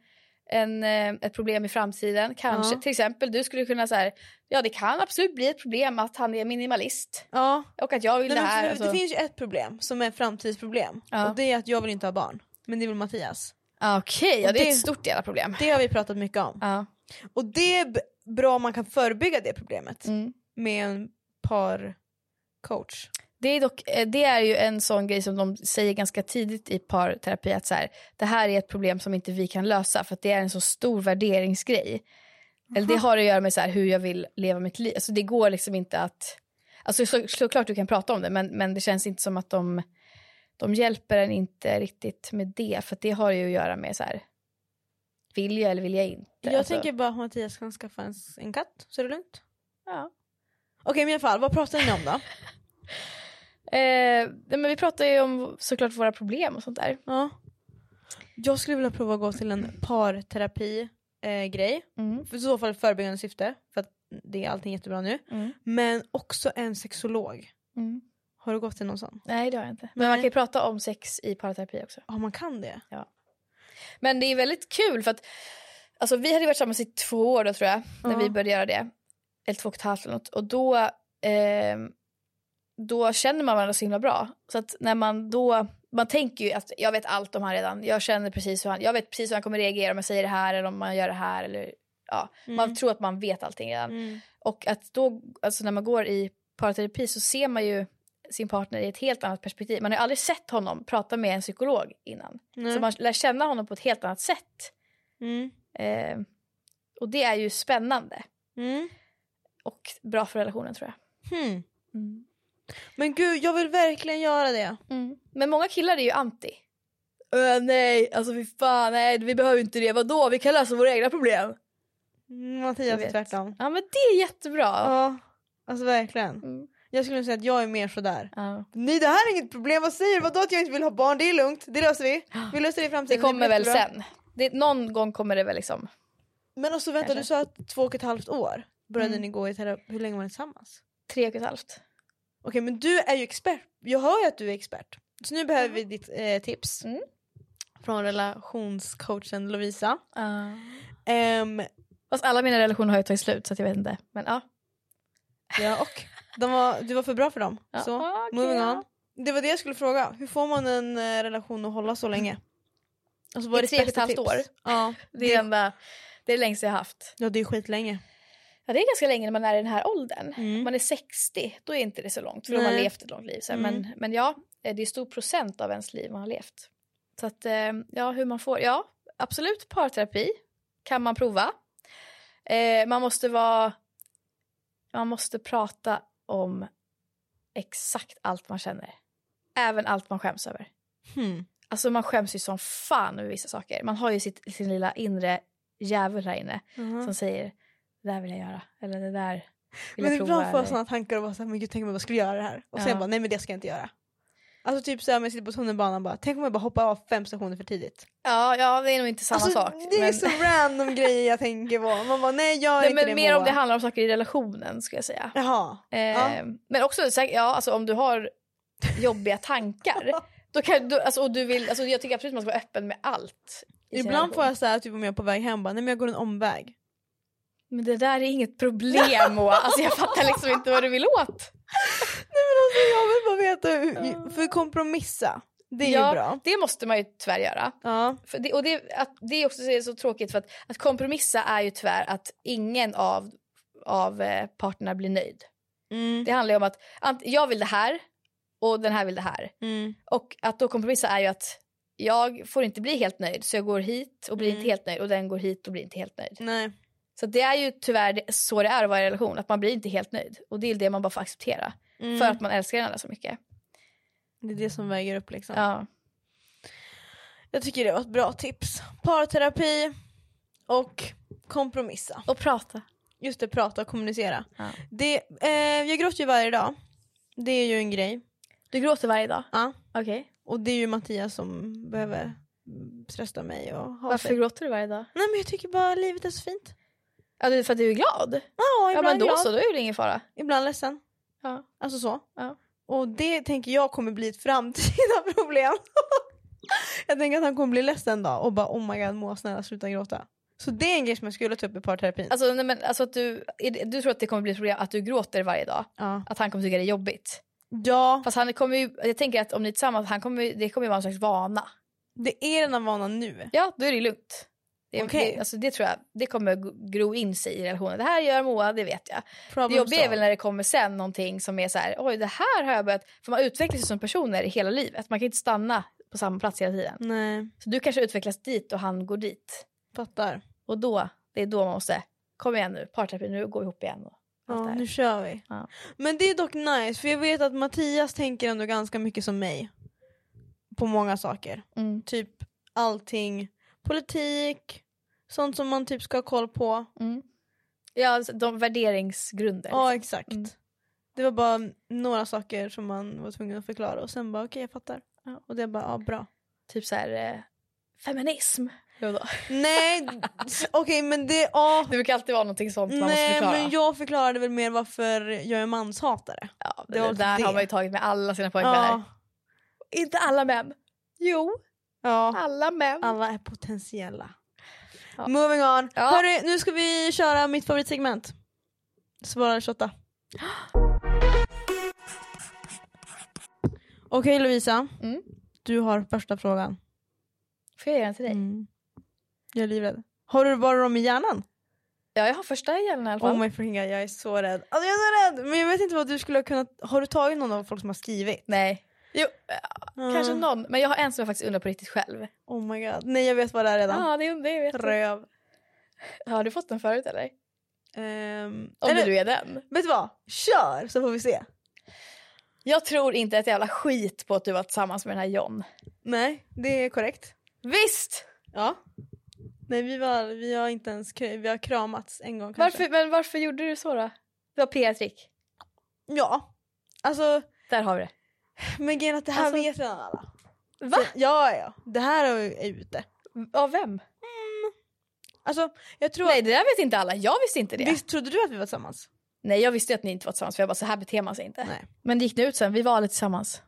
[SPEAKER 2] en, eh, ett problem i framtiden. Kanske
[SPEAKER 1] Ja.
[SPEAKER 2] till exempel du skulle kunna så här, ja det kan absolut bli ett problem att han är minimalist
[SPEAKER 1] ja.
[SPEAKER 2] och att jag vill
[SPEAKER 1] Nej,
[SPEAKER 2] det
[SPEAKER 1] men
[SPEAKER 2] här.
[SPEAKER 1] för
[SPEAKER 2] alltså.
[SPEAKER 1] Det finns ju ett problem som är framtidsproblem
[SPEAKER 2] Ja.
[SPEAKER 1] och det är att jag vill inte ha barn. Men det vill Mattias.
[SPEAKER 2] Ah, Okej, ja,
[SPEAKER 1] Och
[SPEAKER 2] det är
[SPEAKER 1] det-
[SPEAKER 2] ett stort jävla problem.
[SPEAKER 1] Det har vi pratat mycket om.
[SPEAKER 2] Ja.
[SPEAKER 1] Och det är b- bra om man kan förebygga det problemet
[SPEAKER 2] Mm.
[SPEAKER 1] med en par coach.
[SPEAKER 2] Det, är dock, eh, det är ju en sån grej som de säger ganska tidigt i parterapi att så här, det här är ett problem som inte vi kan lösa för att det är en så stor värderingsgrej. Eller det har att göra med så här, hur jag vill leva mitt liv. Alltså, det går liksom inte att... Alltså, så, såklart du kan prata om det men, men det känns inte som att de, de hjälper en inte riktigt med det för att det har ju att göra med så här, vill jag eller vill jag inte?
[SPEAKER 1] Jag
[SPEAKER 2] Alltså,
[SPEAKER 1] tänker bara att Mattias kan skaffa en, en katt så är det lugnt.
[SPEAKER 2] ja.
[SPEAKER 1] Okej men i alla fall, vad pratar ni om då?
[SPEAKER 2] Eh, nej, men vi pratar ju om såklart våra problem och sånt där.
[SPEAKER 1] ja. Jag skulle vilja prova att gå till en parterapi eh, grej.
[SPEAKER 2] Mm.
[SPEAKER 1] För i så fall förebyggande syfte för att det är allting jättebra nu.
[SPEAKER 2] Mm.
[SPEAKER 1] Men också en sexolog.
[SPEAKER 2] Mm.
[SPEAKER 1] Har du gått till någon sån?
[SPEAKER 2] Nej det har jag inte. Men
[SPEAKER 1] Nej.
[SPEAKER 2] man kan ju prata om sex i parterapi också.
[SPEAKER 1] Ja man kan det.
[SPEAKER 2] Men det är väldigt kul för att alltså, vi hade varit tillsammans i två år då tror jag. När
[SPEAKER 1] Ja.
[SPEAKER 2] vi började göra det. Eller två och ett halvt eller något. Och då, ehm, då känner man varandra så himla bra. Så att när man då, man tänker ju att jag vet allt om han redan. Jag känner precis hur han, jag vet precis hur han kommer reagera om jag säger det här eller om man gör det här. Eller, ja.
[SPEAKER 1] Mm.
[SPEAKER 2] Man tror att man vet allting redan. Och att då, alltså när man går i parterapi så ser man ju sin partner i ett helt annat perspektiv. Man har ju aldrig sett honom prata med en psykolog innan.
[SPEAKER 1] Nej.
[SPEAKER 2] Så man lär känna honom på ett helt annat sätt.
[SPEAKER 1] Mm.
[SPEAKER 2] Eh, och det är ju spännande
[SPEAKER 1] Mm.
[SPEAKER 2] och bra för relationen tror jag.
[SPEAKER 1] Hmm.
[SPEAKER 2] Mm.
[SPEAKER 1] Men gud, jag vill verkligen göra det.
[SPEAKER 2] Men många killar är ju anti. Äh, Mm. nej, alltså fy fan, nej vi behöver inte det. Vadå, vi kan lösa våra egna problem.
[SPEAKER 1] Mm, Mattias
[SPEAKER 2] Jag
[SPEAKER 1] är
[SPEAKER 2] vet.
[SPEAKER 1] tvärtom.
[SPEAKER 2] Ja men det är jättebra.
[SPEAKER 1] Ja, alltså verkligen.
[SPEAKER 2] Mm.
[SPEAKER 1] Jag skulle säga att jag är mer sådär.
[SPEAKER 2] Ja.
[SPEAKER 1] Nej det här är inget problem, vad säger du? Vadå att jag inte vill ha barn? Det är lugnt, det löser vi. Vi löser det i
[SPEAKER 2] Det
[SPEAKER 1] framtiden.
[SPEAKER 2] kommer
[SPEAKER 1] blir
[SPEAKER 2] väl
[SPEAKER 1] jättebra.
[SPEAKER 2] sen. Det, någon gång kommer det väl liksom.
[SPEAKER 1] Men också vänta,
[SPEAKER 2] Kanske.
[SPEAKER 1] du sa att två och ett halvt år började
[SPEAKER 2] Mm.
[SPEAKER 1] ni gå i terapi. Hur länge var ni tillsammans?
[SPEAKER 2] Tre och ett halvt.
[SPEAKER 1] Okej men du är ju expert, jag hör ju att du är expert. Så nu behöver vi ditt eh, tips.
[SPEAKER 2] Mm.
[SPEAKER 1] Från relationscoachen Lovisa.
[SPEAKER 2] Ja.
[SPEAKER 1] Ehm,
[SPEAKER 2] Fast alla mina relationer har ju tagit slut så att jag vet inte. Men ja.
[SPEAKER 1] Ja, och de var, du var för bra för dem.
[SPEAKER 2] Ja,
[SPEAKER 1] Så,
[SPEAKER 2] okej,
[SPEAKER 1] moving
[SPEAKER 2] ja.
[SPEAKER 1] on. Det var det jag skulle fråga. Hur får man en eh, relation att hålla så länge? Alltså, vad
[SPEAKER 2] I
[SPEAKER 1] är
[SPEAKER 2] tre och ett
[SPEAKER 1] bästa
[SPEAKER 2] halvt
[SPEAKER 1] tips?
[SPEAKER 2] år.
[SPEAKER 1] Ja,
[SPEAKER 2] Det är det enda, det är det längsta jag har haft.
[SPEAKER 1] ja, det är skitlänge.
[SPEAKER 2] Ja, det är ganska länge när man är i den här åldern.
[SPEAKER 1] Mm.
[SPEAKER 2] Om man är 60, då är inte det så långt. För då har man
[SPEAKER 1] Nej.
[SPEAKER 2] levt ett långt liv. Så här.
[SPEAKER 1] Mm.
[SPEAKER 2] Men, men ja, eh, det är stor procent av ens liv man har levt. Så att, eh, ja, hur man får. Ja, absolut parterapi kan man prova. Eh, man måste vara... Man måste prata om exakt allt man känner. Även allt man skäms över.
[SPEAKER 1] Hmm.
[SPEAKER 2] Alltså man skäms ju som fan över vissa saker. Man har ju sitt, sin lilla inre djävul här inne som säger det där vill jag göra eller det där vill
[SPEAKER 1] Mhm. Men
[SPEAKER 2] jag prova.
[SPEAKER 1] ibland får
[SPEAKER 2] eller-
[SPEAKER 1] jag sådana tankar och bara såhär, men gud tänk om jag bara skulle göra det här. Och sen
[SPEAKER 2] Ja.
[SPEAKER 1] bara, nej men det ska jag inte göra. Alltså typ såhär, om jag sitter på tunnelbanan bara, tänk om jag bara hoppar av fem stationer för tidigt.
[SPEAKER 2] Ja, ja, det är nog inte samma
[SPEAKER 1] alltså,
[SPEAKER 2] sak.
[SPEAKER 1] Det är
[SPEAKER 2] men-
[SPEAKER 1] så random grejer jag tänker på. Man bara, nej gör
[SPEAKER 2] Nej,
[SPEAKER 1] inte
[SPEAKER 2] men
[SPEAKER 1] det
[SPEAKER 2] mer om
[SPEAKER 1] Moa.
[SPEAKER 2] det handlar om saker i relationen skulle jag säga.
[SPEAKER 1] Jaha.
[SPEAKER 2] Eh, Men också säk- ja, alltså, om du har jobbiga tankar. då kan du, alltså, och du vill, alltså, jag tycker absolut man ska vara öppen med allt. i sin
[SPEAKER 1] Ibland får
[SPEAKER 2] relation.
[SPEAKER 1] jag såhär, typ om jag är på väg hem bara, nej men jag går en omväg.
[SPEAKER 2] Men det där är inget problem Moa. Alltså, jag fattar liksom inte vad du vill åt.
[SPEAKER 1] Nej men alltså jag vill bara veta, hur, för kompromissa, det är
[SPEAKER 2] ja,
[SPEAKER 1] ju bra.
[SPEAKER 2] Det måste man ju tyvärr göra.
[SPEAKER 1] Ja.
[SPEAKER 2] För det, och det, att, det är också så- så tråkigt för att, att kompromissa är ju tyvärr att ingen av, av eh, parterna blir nöjd.
[SPEAKER 1] Mm.
[SPEAKER 2] Det handlar ju om att ant, jag vill det här och den här vill det här.
[SPEAKER 1] Mm.
[SPEAKER 2] Och att då kompromissa är ju att jag får inte bli helt nöjd så jag går hit och blir
[SPEAKER 1] Mm.
[SPEAKER 2] inte helt nöjd och den går hit och blir inte helt nöjd.
[SPEAKER 1] Nej.
[SPEAKER 2] Så det är ju tyvärr det, så det är att vara i en relation, att man blir inte helt nöjd. Och det är det man bara får acceptera
[SPEAKER 1] Mm.
[SPEAKER 2] för att man älskar den andra så mycket.
[SPEAKER 1] Det är det som väger upp liksom.
[SPEAKER 2] Ja.
[SPEAKER 1] Jag tycker det var ett bra tips. Parterapi och kompromissa.
[SPEAKER 2] Och prata.
[SPEAKER 1] Just det, prata och kommunicera.
[SPEAKER 2] Ja.
[SPEAKER 1] Det, eh, jag gråter ju varje dag. Det är ju en grej.
[SPEAKER 2] Du gråter varje dag?
[SPEAKER 1] Ja.
[SPEAKER 2] Okej.
[SPEAKER 1] Och det är ju Mattias som behöver mm, trösta mig och ha
[SPEAKER 2] Varför
[SPEAKER 1] sig.
[SPEAKER 2] gråter du varje dag?
[SPEAKER 1] Nej men jag tycker bara livet är så fint.
[SPEAKER 2] Ja, det är för att du är glad.
[SPEAKER 1] Ja,
[SPEAKER 2] Ja
[SPEAKER 1] ibland
[SPEAKER 2] men då
[SPEAKER 1] glad,
[SPEAKER 2] så, då är det ingen fara.
[SPEAKER 1] ibland ledsen.
[SPEAKER 2] Ja.
[SPEAKER 1] Alltså så.
[SPEAKER 2] Ja.
[SPEAKER 1] Och det tänker jag kommer bli ett framtida problem. jag tänker att han kommer bli ledsen en dag och bara oh my god Moa snälla sluta gråta. Så det är en grej som jag skulle ta upp i parterapin.
[SPEAKER 2] Alltså, nej, men, alltså att du, är det- du tror att det kommer bli ett problem att du gråter varje dag?
[SPEAKER 1] ja.
[SPEAKER 2] Att han kommer tycka det är jobbigt?
[SPEAKER 1] ja,
[SPEAKER 2] Fast han kommer ju, jag tänker att om ni är tillsammans, han kommer, ju- det kommer ju vara en slags vana.
[SPEAKER 1] det är den här vanan nu.
[SPEAKER 2] Ja, då är det lugnt. Det,
[SPEAKER 1] Okej.
[SPEAKER 2] det, alltså, det tror jag, det kommer g- gro in sig i relationen. Det här gör Moa, det vet jag. Det
[SPEAKER 1] Problem
[SPEAKER 2] jobbiga är
[SPEAKER 1] solved.
[SPEAKER 2] väl när det kommer sen någonting som är så här, oj det här har jag börjat, för man utvecklas ju som personer i hela livet. Man kan ju inte stanna på samma plats hela tiden.
[SPEAKER 1] Nej,
[SPEAKER 2] Så du kanske utvecklas dit och han går dit.
[SPEAKER 1] fattar.
[SPEAKER 2] Och då, det är då man måste, kom igen nu, parterapi, nu går vi ihop igen. Och allt det
[SPEAKER 1] Ja,
[SPEAKER 2] här.
[SPEAKER 1] nu kör vi.
[SPEAKER 2] Ja.
[SPEAKER 1] Men det är dock nice för jag vet att Mattias tänker ändå ganska mycket som mig. På många saker.
[SPEAKER 2] Mm,
[SPEAKER 1] Typ allting. Politik, sånt som man typ ska ha koll på.
[SPEAKER 2] mm. Ja, alltså, de värderingsgrunder.
[SPEAKER 1] Ja
[SPEAKER 2] liksom.
[SPEAKER 1] exakt.
[SPEAKER 2] Mm.
[SPEAKER 1] Det var bara några saker som man var tvungen att förklara och sen bara okej jag fattar.
[SPEAKER 2] Ja.
[SPEAKER 1] Och det bara ja bra.
[SPEAKER 2] Typ så här, eh, feminism. Då och då.
[SPEAKER 1] Nej s- okej men det, ja.
[SPEAKER 2] Det brukar alltid vara någonting sånt man måste
[SPEAKER 1] Nej
[SPEAKER 2] förklara.
[SPEAKER 1] men jag förklarade väl mer varför jag är manshatare.
[SPEAKER 2] ja,
[SPEAKER 1] det
[SPEAKER 2] det
[SPEAKER 1] var
[SPEAKER 2] där
[SPEAKER 1] det.
[SPEAKER 2] har man ju tagit med alla sina pojkvänner. Inte alla män. Jo,
[SPEAKER 1] ja.
[SPEAKER 2] alla män.
[SPEAKER 1] Alla är potentiella.
[SPEAKER 2] Ja.
[SPEAKER 1] Moving on.
[SPEAKER 2] Ja.
[SPEAKER 1] Hörru, nu ska vi köra mitt favoritsegment. Svara eller shotta. Okej Lovisa,
[SPEAKER 2] Mm.
[SPEAKER 1] du har första frågan.
[SPEAKER 2] Får jag göra den till dig?
[SPEAKER 1] Mm. Jag är livrädd. Har du bara dem i hjärnan?
[SPEAKER 2] Ja, jag har första i hjärnan i alla fall.
[SPEAKER 1] Oh my freaking god, jag är så rädd. Alltså jag är så rädd! Men jag vet inte vad du skulle ha kunnat... Har du tagit någon av folk som har skrivit?
[SPEAKER 2] Nej. Jo,
[SPEAKER 1] Ah.
[SPEAKER 2] kanske någon. Men jag har en som jag faktiskt undrar på riktigt själv.
[SPEAKER 1] Oh my god. Nej jag vet vad det är redan.
[SPEAKER 2] Ja, det undrar jag. Vet du.
[SPEAKER 1] Röv.
[SPEAKER 2] Har du fått den förut eller?
[SPEAKER 1] Ehm,
[SPEAKER 2] Om
[SPEAKER 1] eller,
[SPEAKER 2] du är den.
[SPEAKER 1] Vet du vad? Kör så får vi se.
[SPEAKER 2] Jag tror inte ett jävla skit på att du var tillsammans med den här John.
[SPEAKER 1] Nej, det är korrekt.
[SPEAKER 2] Visst!
[SPEAKER 1] Ja. Nej vi var, vi har inte ens kr- vi har kramats en gång kanske.
[SPEAKER 2] Varför, men varför gjorde du så då? Det var PR-trick.
[SPEAKER 1] Ja. Alltså,
[SPEAKER 2] Där har vi det.
[SPEAKER 1] men grejen är att det här
[SPEAKER 2] Alltså-
[SPEAKER 1] vet redan alla.
[SPEAKER 2] Va?
[SPEAKER 1] Ja, ja. Det här är är ute.
[SPEAKER 2] Av vem?
[SPEAKER 1] Alltså, jag tror
[SPEAKER 2] Nej, det där vet inte alla. Jag visste inte det.
[SPEAKER 1] Visst trodde du att vi var tillsammans?
[SPEAKER 2] Nej, jag visste ju att ni inte var tillsammans för jag bara, så här beter man sig inte.
[SPEAKER 1] Nej.
[SPEAKER 2] Men det gick nu ut sen, vi var aldrig tillsammans.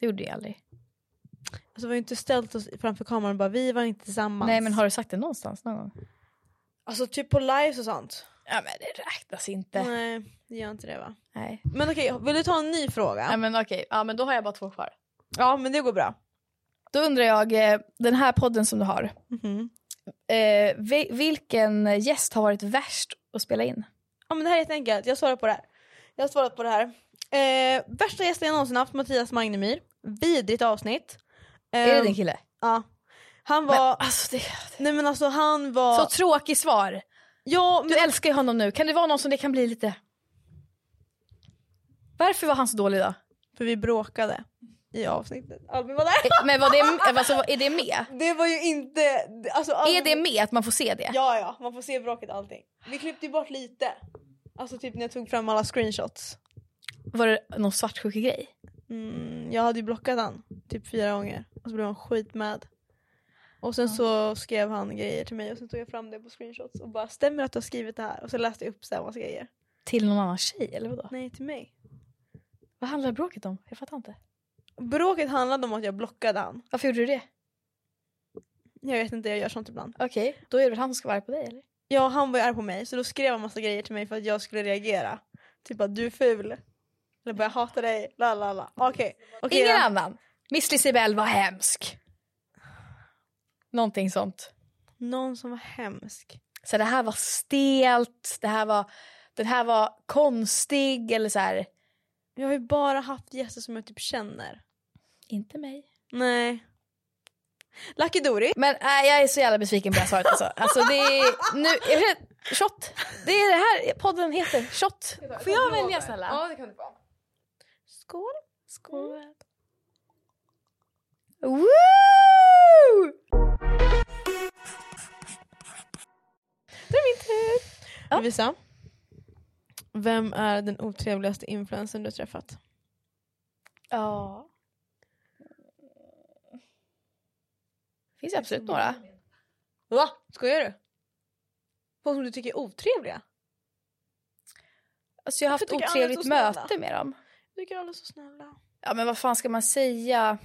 [SPEAKER 2] Det gjorde jag aldrig.
[SPEAKER 1] Alltså vi har ju inte ställt oss framför kameran och bara vi var inte tillsammans.
[SPEAKER 2] Nej, men har du sagt det någonstans någon gång?
[SPEAKER 1] Alltså typ på lives och sånt.
[SPEAKER 2] Ja men det räknas inte. Nej.
[SPEAKER 1] Nej, det gör inte det va? Men okej, vill du ta en ny
[SPEAKER 2] Nej,
[SPEAKER 1] fråga?
[SPEAKER 2] men okej, ja, men då har jag bara två kvar.
[SPEAKER 1] Ja men det går bra.
[SPEAKER 2] Då undrar jag, eh, den här podden som du har.
[SPEAKER 1] Mhm.
[SPEAKER 2] Eh, vi, vilken gäst har varit värst att spela in?
[SPEAKER 1] Ja men det här är jätteenkelt, jag svarar på det här. Jag har svarat på det här. Eh, värsta gästen jag någonsin haft, Mattias Magnemyr. Vidrigt avsnitt.
[SPEAKER 2] är det
[SPEAKER 1] Ehm,
[SPEAKER 2] din kille?
[SPEAKER 1] Ja. Han var,
[SPEAKER 2] Men, alltså, det,
[SPEAKER 1] nej men alltså han var...
[SPEAKER 2] Så tråkigt svar.
[SPEAKER 1] ja, men,
[SPEAKER 2] Du älskar ju honom nu, kan det vara någon som det kan bli lite? Varför var han så dålig då? Eh,
[SPEAKER 1] för vi bråkade i avsnittet. Albin var där.
[SPEAKER 2] Eh, Men var det, alltså, är det med?
[SPEAKER 1] Det var ju inte... Alltså,
[SPEAKER 2] Är
[SPEAKER 1] Albin-
[SPEAKER 2] det med att man får se det?
[SPEAKER 1] Ja ja, man får se bråket och allting. Vi klippte ju bort lite. Alltså typ när jag tog fram alla screenshots.
[SPEAKER 2] Var det någon svartsjukegrej?
[SPEAKER 1] Mm, jag hade ju blockat han typ fyra gånger och så blev han skitmad. Och sen så skrev han grejer till mig och sen tog jag fram det på screenshots och bara stämmer det att du har skrivit det här? Och så läste jag upp så här massa grejer.
[SPEAKER 2] Till någon annan tjej eller vadå?
[SPEAKER 1] Nej till mig.
[SPEAKER 2] Vad handlar bråket om? Jag fattar inte.
[SPEAKER 1] Bråket handlade om att jag blockade han.
[SPEAKER 2] Varför gjorde du det?
[SPEAKER 1] Jag vet inte, jag gör sånt ibland.
[SPEAKER 2] Okej, då är det väl han som ska vara på dig eller?
[SPEAKER 1] Ja han var ju arg på mig så då skrev han massa grejer till mig för att jag skulle reagera. Typ att du är ful. Eller bara jag hatar dig, la la la. Okej. Okej,
[SPEAKER 2] Ingen
[SPEAKER 1] då.
[SPEAKER 2] annan. Miss Lisibell var hemsk. Någonting sånt.
[SPEAKER 1] Någon som var hemsk.
[SPEAKER 2] Så det här var stelt, det här var, den här var konstig eller så här.
[SPEAKER 1] Jag har ju bara haft gäster som jag typ känner.
[SPEAKER 2] Inte mig.
[SPEAKER 1] Nej. Lucky Dory.
[SPEAKER 2] Men äh, jag är så jävla besviken på det här svaret alltså. alltså det är, nu, är det, shot. Det är det här podden heter, shot. Får jag välja snälla? Ja det kan du få.
[SPEAKER 1] Skål.
[SPEAKER 2] Skål. Woo!
[SPEAKER 1] Det är min tur. Lovisa. Vem är den otrevligaste influencern du träffat?
[SPEAKER 2] Ja. Finns det absolut några.
[SPEAKER 1] Va? Skojar du? Folk som du tycker är otrevliga?
[SPEAKER 2] Alltså jag har haft
[SPEAKER 1] tycker alla är så
[SPEAKER 2] otrevligt
[SPEAKER 1] snälla.
[SPEAKER 2] möte med dem.
[SPEAKER 1] Jag tycker alla är så snälla.
[SPEAKER 2] Ja men vad fan ska man säga?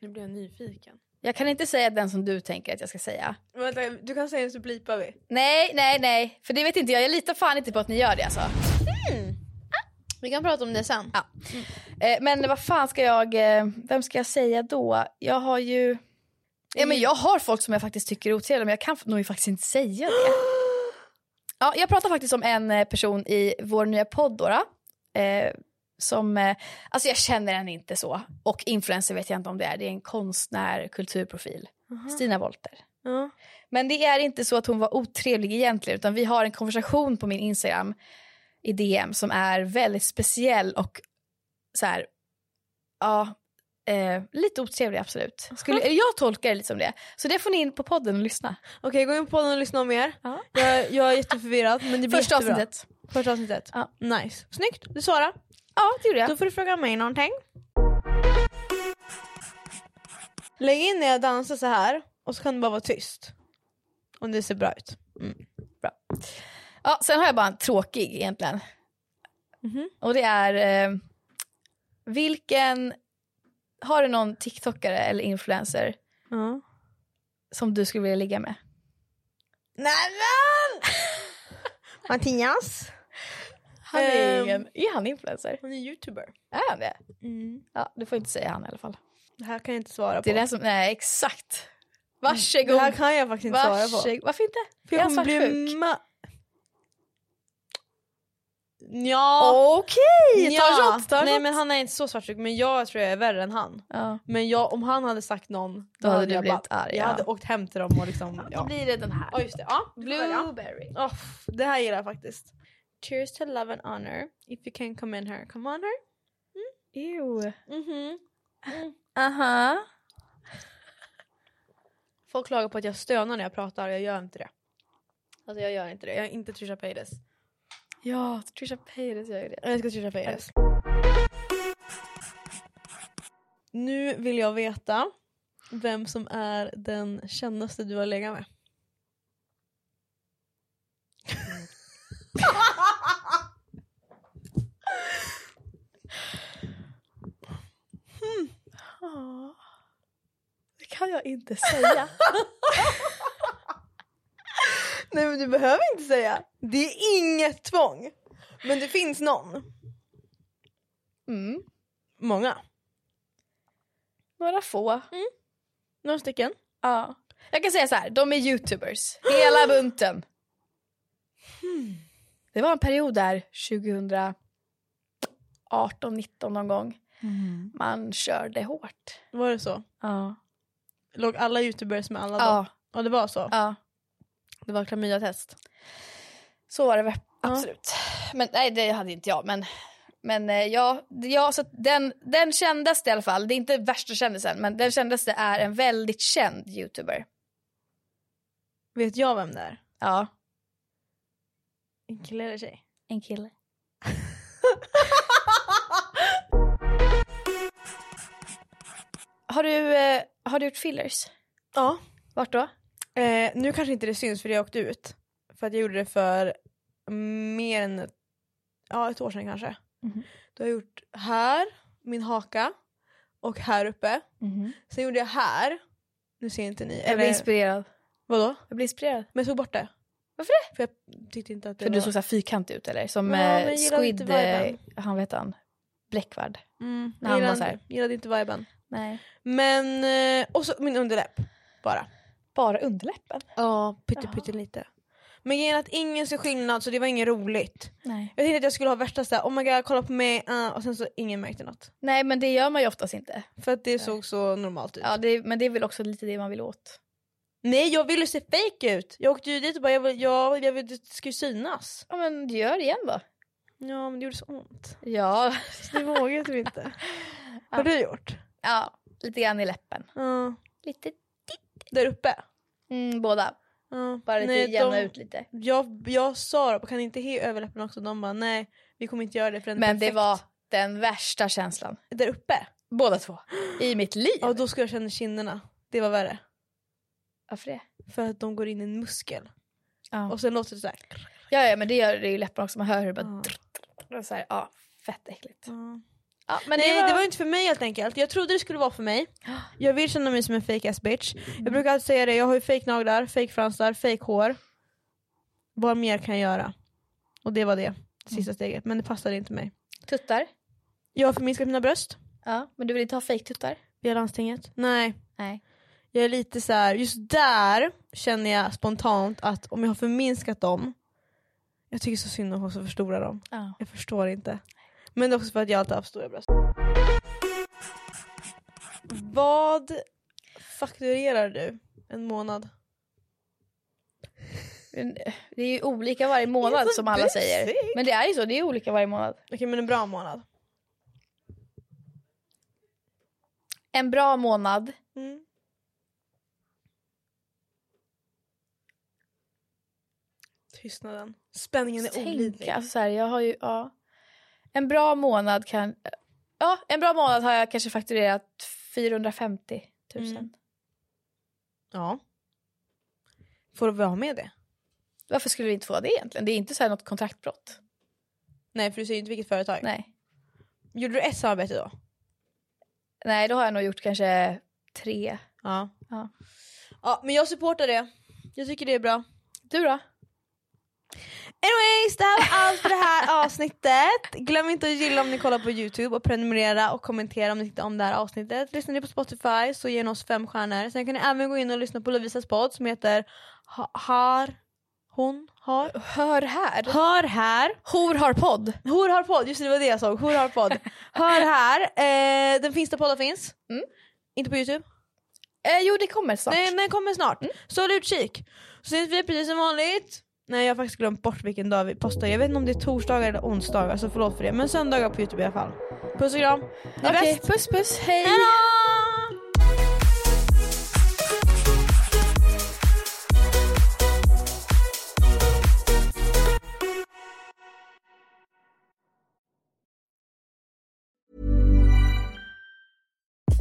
[SPEAKER 1] Nu blir jag nyfiken.
[SPEAKER 2] Jag kan inte säga den som du tänker att jag ska säga.
[SPEAKER 1] Vänta, du kan säga det så blipar vi.
[SPEAKER 2] Nej, nej, nej. För det vet inte jag. Jag litar fan inte på att ni gör det alltså.
[SPEAKER 1] Mm. Ah. Vi kan prata om det sen.
[SPEAKER 2] Ja. Eh, men vad fan ska jag, eh, vem ska jag säga då? Jag har ju... Ja, men jag har folk som jag faktiskt tycker är otrevliga men jag kan nog faktiskt inte säga det. Ja, jag pratar faktiskt om en eh, person i vår nya podd då, då, eh, som, eh, alltså jag känner henne inte så. Och influencer vet jag inte om det är, det är en konstnär, kulturprofil. Stina Wolter.
[SPEAKER 1] Ja.
[SPEAKER 2] Men det är inte så att hon var otrevlig egentligen utan vi har en konversation på min Instagram i DM som är väldigt speciell och så här, ja, eh, lite otrevlig absolut. Skulle, eller jag tolkar det lite som det. Så det får ni in på podden och lyssna.
[SPEAKER 1] Okej, gå in på podden och lyssna om er.
[SPEAKER 2] Ja.
[SPEAKER 1] Jag, jag är jätteförvirrad men det blir
[SPEAKER 2] Första
[SPEAKER 1] jättebra.
[SPEAKER 2] avsnittet.
[SPEAKER 1] Första avsnittet.
[SPEAKER 2] Ja.
[SPEAKER 1] Nice. Snyggt. Du svarar.
[SPEAKER 2] Ja, det gjorde jag.
[SPEAKER 1] Då får du fråga mig någonting. Lägg in när jag dansar så här och så kan du bara vara tyst. Om det ser bra ut.
[SPEAKER 2] Ja, sen har jag bara en tråkig egentligen.
[SPEAKER 1] Mhm.
[SPEAKER 2] Och det är eh, vilken, har du någon TikTokare eller influencer
[SPEAKER 1] Ja.
[SPEAKER 2] som du skulle vilja ligga med?
[SPEAKER 1] Nämen! Mattias.
[SPEAKER 2] Han är,
[SPEAKER 1] Ehm.
[SPEAKER 2] ingen, är han influencer?
[SPEAKER 1] Hon är youtuber.
[SPEAKER 2] Är han det?
[SPEAKER 1] Mm.
[SPEAKER 2] Ja, du får inte säga han i alla fall.
[SPEAKER 1] Det här kan jag inte svara på.
[SPEAKER 2] Det är det som, nej exakt. Varsågod.
[SPEAKER 1] det här kan jag faktiskt inte svara på.
[SPEAKER 2] Varsågod. Varför inte?
[SPEAKER 1] För
[SPEAKER 2] är
[SPEAKER 1] jag
[SPEAKER 2] han
[SPEAKER 1] kommer bli
[SPEAKER 2] svartsjuk?
[SPEAKER 1] ma- Ja.
[SPEAKER 2] Okej, ta
[SPEAKER 1] Ah. ja.
[SPEAKER 2] en shot. Ta en
[SPEAKER 1] Nej
[SPEAKER 2] shot.
[SPEAKER 1] men han är inte så svartsjuk men jag tror jag är värre än han.
[SPEAKER 2] ja.
[SPEAKER 1] Men jag, om han hade sagt någon då,
[SPEAKER 2] Då hade du
[SPEAKER 1] jag
[SPEAKER 2] blivit
[SPEAKER 1] bara,
[SPEAKER 2] arg,
[SPEAKER 1] Jag
[SPEAKER 2] ja.
[SPEAKER 1] hade åkt hem till dem och liksom...
[SPEAKER 2] Då
[SPEAKER 1] Ja,
[SPEAKER 2] blir det den här.
[SPEAKER 1] ja just det. Ja, Blue.
[SPEAKER 2] Blueberry.
[SPEAKER 1] Oh, det här gillar jag faktiskt. Cheers to love and honor. If you can come in here, come on her.
[SPEAKER 2] Ew.
[SPEAKER 1] Mhm.
[SPEAKER 2] Mm. Aha.
[SPEAKER 1] Folk klagar på att jag stönar när jag pratar jag gör inte det. Alltså jag gör inte det. Jag är inte Trisha Paytas.
[SPEAKER 2] Ja, Trisha Paytas gör ju det.
[SPEAKER 1] Jag ska Trisha Paytas. Nu vill jag veta vem som är den kändaste du har legat med.
[SPEAKER 2] Det kan jag inte säga.
[SPEAKER 1] Nej men du behöver inte säga. Det är inget tvång. Men det finns någon.
[SPEAKER 2] Mm.
[SPEAKER 1] Många.
[SPEAKER 2] Några få.
[SPEAKER 1] Några stycken.
[SPEAKER 2] Ja. Jag kan säga så här, de är youtubers. Hela bunten. Hmm. Det var en period där 2018, 19 någon gång. Man körde hårt.
[SPEAKER 1] Var det så?
[SPEAKER 2] Mm. Ja.
[SPEAKER 1] Låg alla youtubers med alla
[SPEAKER 2] Ja.
[SPEAKER 1] då? Och det var så?
[SPEAKER 2] ja.
[SPEAKER 1] Det var klamydia-test.
[SPEAKER 2] Så var det väl. Absolut. Men nej, det hade inte jag. Men, men eh, ja, det- ja så att den, den kändaste i alla fall. Det är inte värsta kändisen, men den kändaste är en väldigt känd youtuber.
[SPEAKER 1] Vet jag vem det är?
[SPEAKER 2] Ja.
[SPEAKER 1] En kille eller tjej?
[SPEAKER 2] En kille. har, du, eh, har du gjort fillers?
[SPEAKER 1] Ja.
[SPEAKER 2] Vart då?
[SPEAKER 1] Eh, nu kanske inte det syns för jag åkte ut. För att jag gjorde det för mer än ja, ett år sedan kanske.
[SPEAKER 2] Mhm.
[SPEAKER 1] Då har jag gjort här, min haka och här uppe.
[SPEAKER 2] Mhm.
[SPEAKER 1] Sen gjorde jag här. Nu ser inte ni. Eh,
[SPEAKER 2] Jag blir inspirerad.
[SPEAKER 1] vadå?
[SPEAKER 2] Jag blir inspirerad.
[SPEAKER 1] Men jag tog bort det.
[SPEAKER 2] Varför
[SPEAKER 1] det? För jag tyckte inte att det
[SPEAKER 2] För
[SPEAKER 1] var...
[SPEAKER 2] du såg så här fyrkantig ut eller? Som
[SPEAKER 1] Ja, men jag
[SPEAKER 2] eh,
[SPEAKER 1] gillar
[SPEAKER 2] Squid,
[SPEAKER 1] inte viben.
[SPEAKER 2] eh, han vet han, Bläckvärd.
[SPEAKER 1] Mm,
[SPEAKER 2] när
[SPEAKER 1] jag
[SPEAKER 2] han var
[SPEAKER 1] gillade,
[SPEAKER 2] så här.
[SPEAKER 1] gillade inte viben.
[SPEAKER 2] Nej.
[SPEAKER 1] Men, eh, och så min underläpp. Bara.
[SPEAKER 2] Bara underläppen?
[SPEAKER 1] Ja, pytte pyttelite. Men grejen är att ingen ser skillnad så det var inget roligt.
[SPEAKER 2] Nej.
[SPEAKER 1] Jag tänkte att jag skulle ha värsta såhär, oh my god kolla på mig, ah, och sen så ingen märkte något.
[SPEAKER 2] Nej men det gör man ju oftast inte.
[SPEAKER 1] För att det såg så normalt ut.
[SPEAKER 2] Ja, det, men det är väl också lite det man vill åt.
[SPEAKER 1] Nej jag ville se fake ut! Jag åkte ju dit och bara, jag vill, jag, jag vill, det ska ju synas.
[SPEAKER 2] Ja men du gör det igen va?
[SPEAKER 1] Ja men det gjorde så ont.
[SPEAKER 2] Ja.
[SPEAKER 1] Så det vågade typ inte. Har du gjort?
[SPEAKER 2] ja, lite grann i läppen.
[SPEAKER 1] Ja.
[SPEAKER 2] Lite.
[SPEAKER 1] Där uppe?
[SPEAKER 2] Mm, båda.
[SPEAKER 1] Ja.
[SPEAKER 2] Bara lite
[SPEAKER 1] Nej,
[SPEAKER 2] jämna
[SPEAKER 1] de-
[SPEAKER 2] ut lite.
[SPEAKER 1] Jag, jag sa då, kan ni inte he överläppen också? De bara nej, vi kommer inte göra det förrän
[SPEAKER 2] Men det
[SPEAKER 1] perfekt."
[SPEAKER 2] var den värsta känslan.
[SPEAKER 1] Där uppe?
[SPEAKER 2] Båda två. I mitt liv.
[SPEAKER 1] Ja då skulle jag känna kinderna. Det var värre.
[SPEAKER 2] Varför det?
[SPEAKER 1] För att de går in i en muskel.
[SPEAKER 2] Ja.
[SPEAKER 1] Och sen låter det såhär.
[SPEAKER 2] ja, ja men det gör det ju i läpparna också. Man hör hur det bara...
[SPEAKER 1] Ja.
[SPEAKER 2] Ja. Så här, ja, fett äckligt.
[SPEAKER 1] Ja.
[SPEAKER 2] Ja, men
[SPEAKER 1] Nej det var...
[SPEAKER 2] ju...
[SPEAKER 1] inte för mig helt enkelt. Jag trodde det skulle vara för mig. Jag vill känna mig som en fake ass bitch. Jag brukar alltid säga det, jag har ju fake naglar, fake fransar, fake hår. Vad mer kan jag göra? Och det var det, det sista steget. Men det passade inte mig.
[SPEAKER 2] Tuttar.
[SPEAKER 1] Jag har förminskat mina bröst
[SPEAKER 2] Ja, men du vill inte ha fejktuttar?
[SPEAKER 1] via landstinget. Nej,
[SPEAKER 2] Nej.
[SPEAKER 1] jag är lite så här. just där känner jag spontant att om jag har förminskat dem, jag tycker så synd om folk som förstorar dem.
[SPEAKER 2] Ja.
[SPEAKER 1] Jag förstår inte. Men det är också för att jag alltid har haft stora bröst. Vad fakturerar du en månad?
[SPEAKER 2] Men Det är ju olika varje
[SPEAKER 1] Det är
[SPEAKER 2] månad
[SPEAKER 1] så
[SPEAKER 2] som alla
[SPEAKER 1] basic.
[SPEAKER 2] säger. Men det är ju så, det är olika varje månad.
[SPEAKER 1] Okej men en bra månad.
[SPEAKER 2] En bra månad.
[SPEAKER 1] Mm. Tystnaden. Spänningen är
[SPEAKER 2] Tänk,
[SPEAKER 1] olidlig.
[SPEAKER 2] alltså så här, jag har ju, ja. En bra månad kan, ja en bra månad har jag kanske fakturerat 450 000.
[SPEAKER 1] Mm. Ja. Får du vara med det?
[SPEAKER 2] Varför skulle vi inte få det egentligen? Det är inte så här något kontraktbrott.
[SPEAKER 1] Nej för du säger ju inte vilket företag.
[SPEAKER 2] Nej.
[SPEAKER 1] Gjorde du ett samarbete då?
[SPEAKER 2] Nej, då har jag nog gjort kanske tre.
[SPEAKER 1] Ja.
[SPEAKER 2] Ja.
[SPEAKER 1] Ja men jag supportar det. Jag tycker det är bra.
[SPEAKER 2] Du då?
[SPEAKER 1] Anyways, det här var allt för det här avsnittet. Glöm inte att gilla om ni kollar på Youtube och prenumerera och kommentera om ni tyckte om det här avsnittet. Lyssnar ni på Spotify så ge oss fem stjärnor. Sen kan ni även gå in och lyssna på Lovisas podd som heter Ha- Har... Hon har...
[SPEAKER 2] Hör här.
[SPEAKER 1] Hör här.
[SPEAKER 2] Hor har podd.
[SPEAKER 1] Hor har podd, just det, det var det jag såg. Hor har podd. Hör här. Eh, den finns där poddar finns.
[SPEAKER 2] Mm.
[SPEAKER 1] Inte på Youtube.
[SPEAKER 2] Eh, jo, det kommer snart.
[SPEAKER 1] Nej, men den kommer snart. Så håll utkik. Så syns vi precis som vanligt. Nej jag har faktiskt glömt bort vilken dag vi postar. Jag vet inte om det är torsdagar eller onsdagar så förlåt för det. Men söndagar på Youtube i alla fall. Puss och kram. Ni är
[SPEAKER 2] Okej,
[SPEAKER 1] bäst.
[SPEAKER 2] puss puss, hej.
[SPEAKER 1] Hejdå!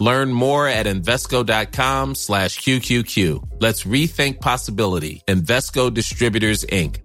[SPEAKER 4] Learn more at Invesco.com slash QQQ. Let's rethink possibility. Invesco Distributors, Inc.